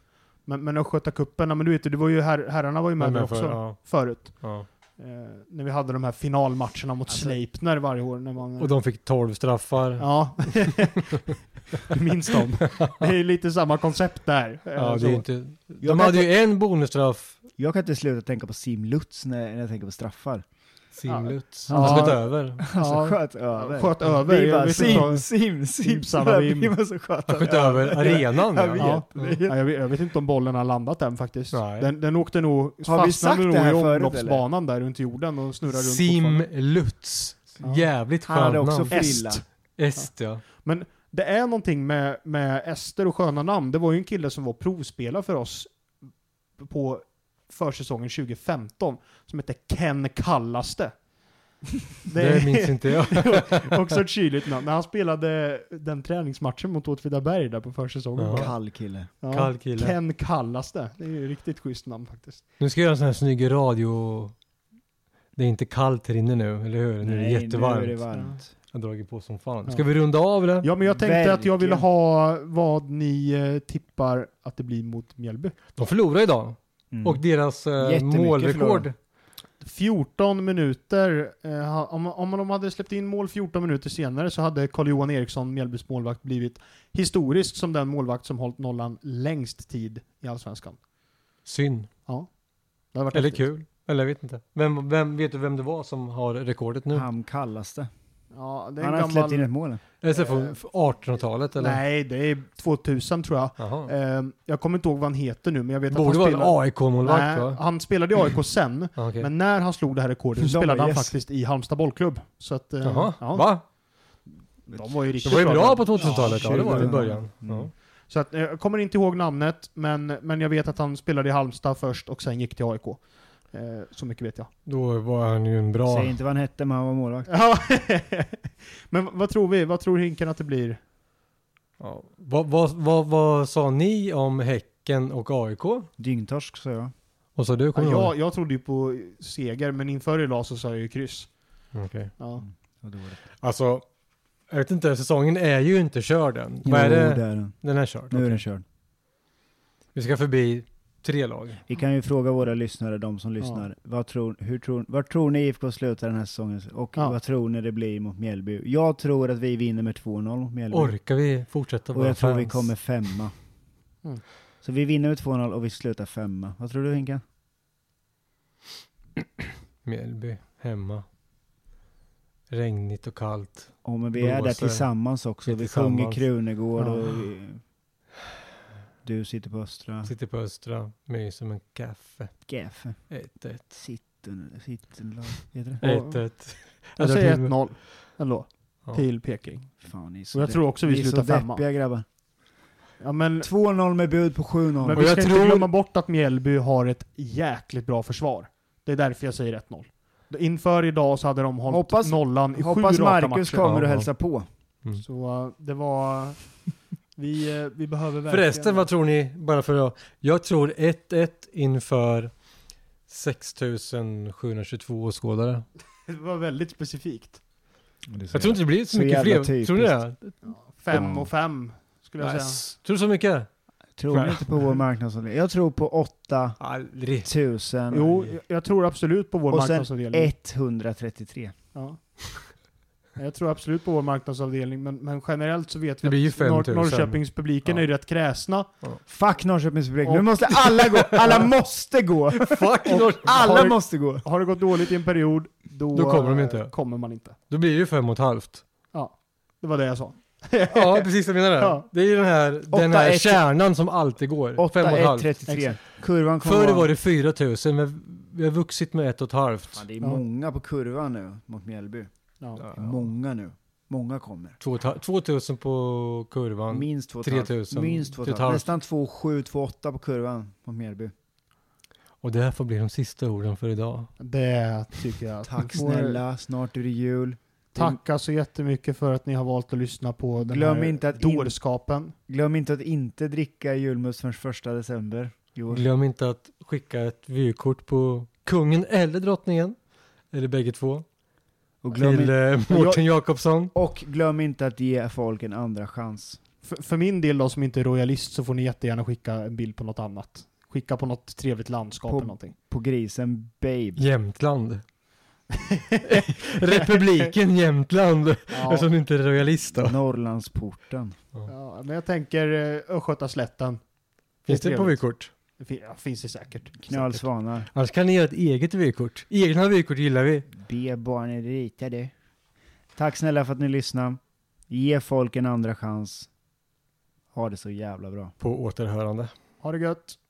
[SPEAKER 1] Men, men Östgötacupen, ja, men du vet, ju, det var ju her, herrarna var ju med där också
[SPEAKER 3] ja,
[SPEAKER 1] förut.
[SPEAKER 3] ja.
[SPEAKER 1] Eh, när vi hade de här finalmatcherna mot
[SPEAKER 2] Alltså-
[SPEAKER 1] Sleipner varje år. När
[SPEAKER 2] Mm.
[SPEAKER 1] man,
[SPEAKER 3] Och de fick 12 straffar.
[SPEAKER 1] Ja. du minns dem. Det är ju lite samma koncept där. eh,
[SPEAKER 3] Ja, det
[SPEAKER 1] så.
[SPEAKER 3] är inte...
[SPEAKER 2] Jag
[SPEAKER 3] De
[SPEAKER 2] kan
[SPEAKER 3] hade ju en bonusstraff,
[SPEAKER 2] Jag kan inte sluta tänka på Sim Lutz när, när jag tänker på straffar.
[SPEAKER 3] Simlutz.
[SPEAKER 1] Ja.
[SPEAKER 3] Han
[SPEAKER 1] Ja.
[SPEAKER 3] sköt över.
[SPEAKER 2] Alltså
[SPEAKER 1] ja,
[SPEAKER 2] sköt över.
[SPEAKER 1] sköt över.
[SPEAKER 2] Vi
[SPEAKER 1] Jag
[SPEAKER 2] bara
[SPEAKER 1] vet inte
[SPEAKER 2] sim,
[SPEAKER 1] om-
[SPEAKER 2] sim, sim,
[SPEAKER 1] Simsalabim.
[SPEAKER 2] Vi måste sköta
[SPEAKER 3] Han sköt över arenan.
[SPEAKER 2] Jag vet.
[SPEAKER 3] Ja.
[SPEAKER 2] Det är-
[SPEAKER 1] Ja, jag, vet, jag vet inte om bollen har landat än faktiskt.
[SPEAKER 3] Nej.
[SPEAKER 1] Den, den åkte nog,
[SPEAKER 2] Har vi sagt
[SPEAKER 1] fastnade nog
[SPEAKER 2] det här
[SPEAKER 1] i
[SPEAKER 2] förut,
[SPEAKER 1] omloppsbanan där runt jorden och snurrade runt fortfarande.
[SPEAKER 3] Simlutz.
[SPEAKER 1] Ja.
[SPEAKER 3] Jävligt
[SPEAKER 2] Han hade
[SPEAKER 3] skönt
[SPEAKER 2] också
[SPEAKER 3] namn.
[SPEAKER 2] frilla.
[SPEAKER 1] Est.
[SPEAKER 3] Est ja.
[SPEAKER 1] Det är någonting med, med Ester och sköna namn. Det var ju en kille som var provspelare för oss på försäsongen 2015 som hette Ken Kallaste. Det
[SPEAKER 3] Det minns
[SPEAKER 1] är
[SPEAKER 3] inte jag.
[SPEAKER 1] också ett kyligt namn. När han spelade den träningsmatchen mot Åtvidaberg där på försäsongen.
[SPEAKER 3] Ja.
[SPEAKER 2] Kall kille.
[SPEAKER 1] Ja.
[SPEAKER 3] Kall kille.
[SPEAKER 1] Ken Kallaste. Det är ju ett riktigt schysst namn faktiskt.
[SPEAKER 3] Nu ska jag göra en sån här snygg radio... Det är inte kallt här inne nu, eller hur? Nu är det jättevarmt.
[SPEAKER 2] Nu är det varmt.
[SPEAKER 3] Jag har dragit på som
[SPEAKER 1] Ja.
[SPEAKER 3] fan. Ska vi runda av det?
[SPEAKER 1] Ja, men jag tänkte att jag ville
[SPEAKER 2] Verkligen.
[SPEAKER 1] ha vad ni eh, tippar att det blir mot Mjällby.
[SPEAKER 3] De förlorar idag.
[SPEAKER 2] Mm.
[SPEAKER 3] Och deras eh,
[SPEAKER 2] Jättemycket förlorar
[SPEAKER 3] målrekord.
[SPEAKER 2] de.
[SPEAKER 1] 14 minuter, eh, ha- om, om de hade släppt in mål 14 minuter senare så hade Carl-Johan Eriksson, Mjällbys målvakt, blivit historiskt som den målvakt som hållit nollan längst tid i Allsvenskan.
[SPEAKER 3] Synd.
[SPEAKER 1] Det hade varit
[SPEAKER 3] Eller
[SPEAKER 1] häftigt.
[SPEAKER 3] kul. Eller jag vet inte. Vem, vem, vet du vem det var som har rekordet nu?
[SPEAKER 2] Han kallaste.
[SPEAKER 1] Ja, det är
[SPEAKER 2] Han har
[SPEAKER 1] en
[SPEAKER 2] släppt
[SPEAKER 1] gammal...
[SPEAKER 2] in ett mål.
[SPEAKER 3] Är det så från 1800-talet eller?
[SPEAKER 1] Eh, Nej, det är 2000 tror jag.
[SPEAKER 3] Jaha.
[SPEAKER 1] Eh, jag kommer inte ihåg vad han heter nu, men jag vet
[SPEAKER 3] Borde
[SPEAKER 1] att han
[SPEAKER 3] vara en
[SPEAKER 1] spelade...
[SPEAKER 3] AIK-målvakt
[SPEAKER 1] Nej,
[SPEAKER 3] va?
[SPEAKER 1] han spelade i AIK sen,
[SPEAKER 3] Ah, okej.
[SPEAKER 1] men när han slog det här rekordet så
[SPEAKER 2] De
[SPEAKER 1] spelade
[SPEAKER 2] var
[SPEAKER 1] han
[SPEAKER 2] yes.
[SPEAKER 1] faktiskt i Halmstad bollklubb. Så att, eh,
[SPEAKER 3] Jaha,
[SPEAKER 1] ja.
[SPEAKER 3] va?
[SPEAKER 1] De var ju
[SPEAKER 3] Det
[SPEAKER 1] riktigt
[SPEAKER 3] var ju bra på
[SPEAKER 1] då.
[SPEAKER 3] 2000-talet, ja det var det i
[SPEAKER 2] 2000-talet.
[SPEAKER 3] början. Ja.
[SPEAKER 2] Mm.
[SPEAKER 1] Så att, eh, jag kommer inte ihåg namnet, men, men jag vet att han spelade i Halmstad först och sen gick till AIK. Eh, så mycket vet jag.
[SPEAKER 3] Då var han ju en bra...
[SPEAKER 2] Säg inte vad han hette, men han var målvakt.
[SPEAKER 1] Ja. men v- vad tror vi? Vad tror Hinken att det blir?
[SPEAKER 3] Ja. Vad, vad, vad, vad sa ni om Häcken och AIK?
[SPEAKER 2] Dyngtorsk sa jag.
[SPEAKER 3] Vad sa du?
[SPEAKER 1] Ja,
[SPEAKER 3] Kommer du ihåg?
[SPEAKER 1] jag, jag trodde ju på seger, men inför idag så sa jag ju kryss.
[SPEAKER 3] Okej.
[SPEAKER 1] Ja.
[SPEAKER 2] Vad dåligt.
[SPEAKER 3] Alltså, jag vet inte, säsongen är ju inte körd än.
[SPEAKER 2] Jo,
[SPEAKER 3] Vad är
[SPEAKER 2] det
[SPEAKER 3] det?
[SPEAKER 2] är den.
[SPEAKER 3] Den är körd.
[SPEAKER 2] Nu är den körd.
[SPEAKER 3] Vi ska förbi tre lag.
[SPEAKER 2] Vi kan ju fråga våra lyssnare, de som lyssnar. Vad tror, hur tror, vad tror ni IFK slutar den här säsongen? Och
[SPEAKER 1] Ja.
[SPEAKER 2] vad tror ni det blir mot Mjällby? Jag tror att vi vinner med 2-0 mot Mjällby.
[SPEAKER 3] Orkar vi fortsätta
[SPEAKER 2] och
[SPEAKER 3] vara
[SPEAKER 2] jag tror vi
[SPEAKER 3] fans?
[SPEAKER 2] kommer femma.
[SPEAKER 1] Mm.
[SPEAKER 2] Så vi vinner med 2-0 och vi slutar femma. Vad tror du Hinka?
[SPEAKER 3] Mjällby, hemma. Regnigt och kallt.
[SPEAKER 2] Oh, men vi
[SPEAKER 3] Blåser.
[SPEAKER 2] är där tillsammans också.
[SPEAKER 3] Vi är
[SPEAKER 2] Vi
[SPEAKER 3] tillsammans.
[SPEAKER 2] sjunger Krunegård
[SPEAKER 1] Ja.
[SPEAKER 2] och vi, du sitter på Östra.
[SPEAKER 3] Sitter på Östra, myser med en kaffe.
[SPEAKER 2] Gaffe.
[SPEAKER 3] 1-1.
[SPEAKER 2] Sitten, sitten, heter det?
[SPEAKER 1] Ja.
[SPEAKER 3] 1-1.
[SPEAKER 1] Jag säger 1-0 ändå,
[SPEAKER 3] Ja.
[SPEAKER 1] till Peking.
[SPEAKER 2] Fan, ni är
[SPEAKER 1] Och jag
[SPEAKER 2] depp-
[SPEAKER 1] tror också vi
[SPEAKER 2] ni är
[SPEAKER 1] slutar
[SPEAKER 2] så
[SPEAKER 1] femma.
[SPEAKER 2] deppiga grabbar.
[SPEAKER 1] Ja, men,
[SPEAKER 2] 2-0 med bud på 7-0.
[SPEAKER 1] men
[SPEAKER 3] Och
[SPEAKER 1] vi ska
[SPEAKER 3] jag
[SPEAKER 1] inte
[SPEAKER 3] tror-
[SPEAKER 1] glömma bort att Mjällby har ett jäkligt bra försvar. Det är därför jag säger 1-0. Inför idag så hade de hållit
[SPEAKER 2] Hoppas-
[SPEAKER 1] nollan i
[SPEAKER 2] Hoppas
[SPEAKER 1] sju raka
[SPEAKER 2] Marcus
[SPEAKER 1] matcher.
[SPEAKER 2] kommer
[SPEAKER 3] Ja,
[SPEAKER 2] och
[SPEAKER 3] ja.
[SPEAKER 2] hälsar på.
[SPEAKER 1] Så eh, det var... Vi, eh, vi behöver verkligen...
[SPEAKER 3] Förresten, vad tror ni? Bara för att... Jag tror 1-1 inför 6722 åskådare.
[SPEAKER 1] Det var väldigt specifikt.
[SPEAKER 3] Jag tror inte det blir så
[SPEAKER 2] Så
[SPEAKER 3] mycket
[SPEAKER 2] jävla
[SPEAKER 3] fler.
[SPEAKER 2] typiskt.
[SPEAKER 3] Tror ni det?
[SPEAKER 1] Fem
[SPEAKER 2] Ja. Mm.
[SPEAKER 1] och fem, skulle jag
[SPEAKER 3] Nej,
[SPEAKER 1] säga.
[SPEAKER 3] s- Tror du så mycket?
[SPEAKER 2] Tror ni inte på vår marknadsavdelning? Jag tror på 8
[SPEAKER 3] Aldrig.
[SPEAKER 2] 000
[SPEAKER 1] Jo, jag- jag tror absolut på vår
[SPEAKER 2] Och sen
[SPEAKER 1] marknadsavdelning.
[SPEAKER 2] 133.
[SPEAKER 1] Ja. Jag tror absolut på vår marknadsavdelning, men, men generellt så vet vi
[SPEAKER 3] Det blir ju
[SPEAKER 1] att Nor-
[SPEAKER 3] 5000.
[SPEAKER 1] Norrköpingspubliken
[SPEAKER 3] Ja.
[SPEAKER 1] är ju rätt kräsna.
[SPEAKER 2] Fuck Norrköpings publik. Nu
[SPEAKER 1] Och-
[SPEAKER 2] måste alla gå. Alla måste gå.
[SPEAKER 3] Fuck Norrköping.
[SPEAKER 2] Alla
[SPEAKER 1] Har-
[SPEAKER 2] måste gå.
[SPEAKER 1] Har det gått dåligt i en period, då,
[SPEAKER 3] Då kommer de
[SPEAKER 1] eh,
[SPEAKER 3] inte.
[SPEAKER 1] kommer man inte.
[SPEAKER 3] Då blir det ju fem och ett halvt.
[SPEAKER 1] Det var det jag sa.
[SPEAKER 3] Ja, precis jag menar det.
[SPEAKER 1] Ja.
[SPEAKER 3] Det är ju den här, den
[SPEAKER 2] Åtta,
[SPEAKER 3] här
[SPEAKER 2] ett-
[SPEAKER 3] kärnan som alltid går. Fem och ett halvt.
[SPEAKER 2] 8-1-33. Kurvan kommer
[SPEAKER 3] Förr
[SPEAKER 2] vara-
[SPEAKER 3] var det 4000, men vi har vuxit med ett och ett halvt.
[SPEAKER 2] Fan, det är
[SPEAKER 1] Ja.
[SPEAKER 2] många på kurvan nu mot Mjällby.
[SPEAKER 1] Ja.
[SPEAKER 2] Det är många nu. Många kommer.
[SPEAKER 3] Två och ett halvt- 2000 på kurvan.
[SPEAKER 2] Minst 2,5.
[SPEAKER 3] 3000.
[SPEAKER 2] Minst 2,5.
[SPEAKER 3] 3,5.
[SPEAKER 2] Nästan 2,7, 2,8 på kurvan mot Mjällby.
[SPEAKER 3] Och det här får bli de sista orden för idag.
[SPEAKER 1] Det tycker jag. att
[SPEAKER 2] Tack
[SPEAKER 1] ni får-
[SPEAKER 2] snälla, snart är det jul.
[SPEAKER 1] Tacka så jättemycket för att ni har valt att lyssna på den
[SPEAKER 2] Glöm
[SPEAKER 1] här
[SPEAKER 2] inte att in-
[SPEAKER 1] dårskapen.
[SPEAKER 2] Glöm inte att inte dricka julmust förrän första december. Jo.
[SPEAKER 3] Glöm inte att skicka ett vykort på kungen eller drottningen. Eller bägge två.
[SPEAKER 2] Och, glöm
[SPEAKER 3] Till
[SPEAKER 2] inte,
[SPEAKER 3] eh, Mårten Jakobsson.
[SPEAKER 2] och glöm inte att ge folk en andra chans.
[SPEAKER 1] För, för min del då, som inte är royalist, så får ni jättegärna skicka en bild på något annat. Skicka på något trevligt landskap
[SPEAKER 2] På-
[SPEAKER 1] eller någonting.
[SPEAKER 2] På grisen babe.
[SPEAKER 3] Jämtland. Republiken Jämtland.
[SPEAKER 1] Ja,
[SPEAKER 3] Eftersom du inte är royalist då.
[SPEAKER 2] Norrlandsporten.
[SPEAKER 1] ja, men jag tänker eh, Östgötaslätten.
[SPEAKER 3] Finns det på
[SPEAKER 1] trevligt.
[SPEAKER 3] vykort?
[SPEAKER 1] Det fin- ja, finns det säkert. Säkert.
[SPEAKER 2] Knölsvanar.
[SPEAKER 3] Annars kan ni göra ett eget vykort. Egna vykort gillar vi.
[SPEAKER 2] Be barnen rita det. Tack snälla för att ni lyssnade. Ge folk en andra chans. Ha det så jävla bra.
[SPEAKER 3] På återhörande.
[SPEAKER 1] Ha det gött.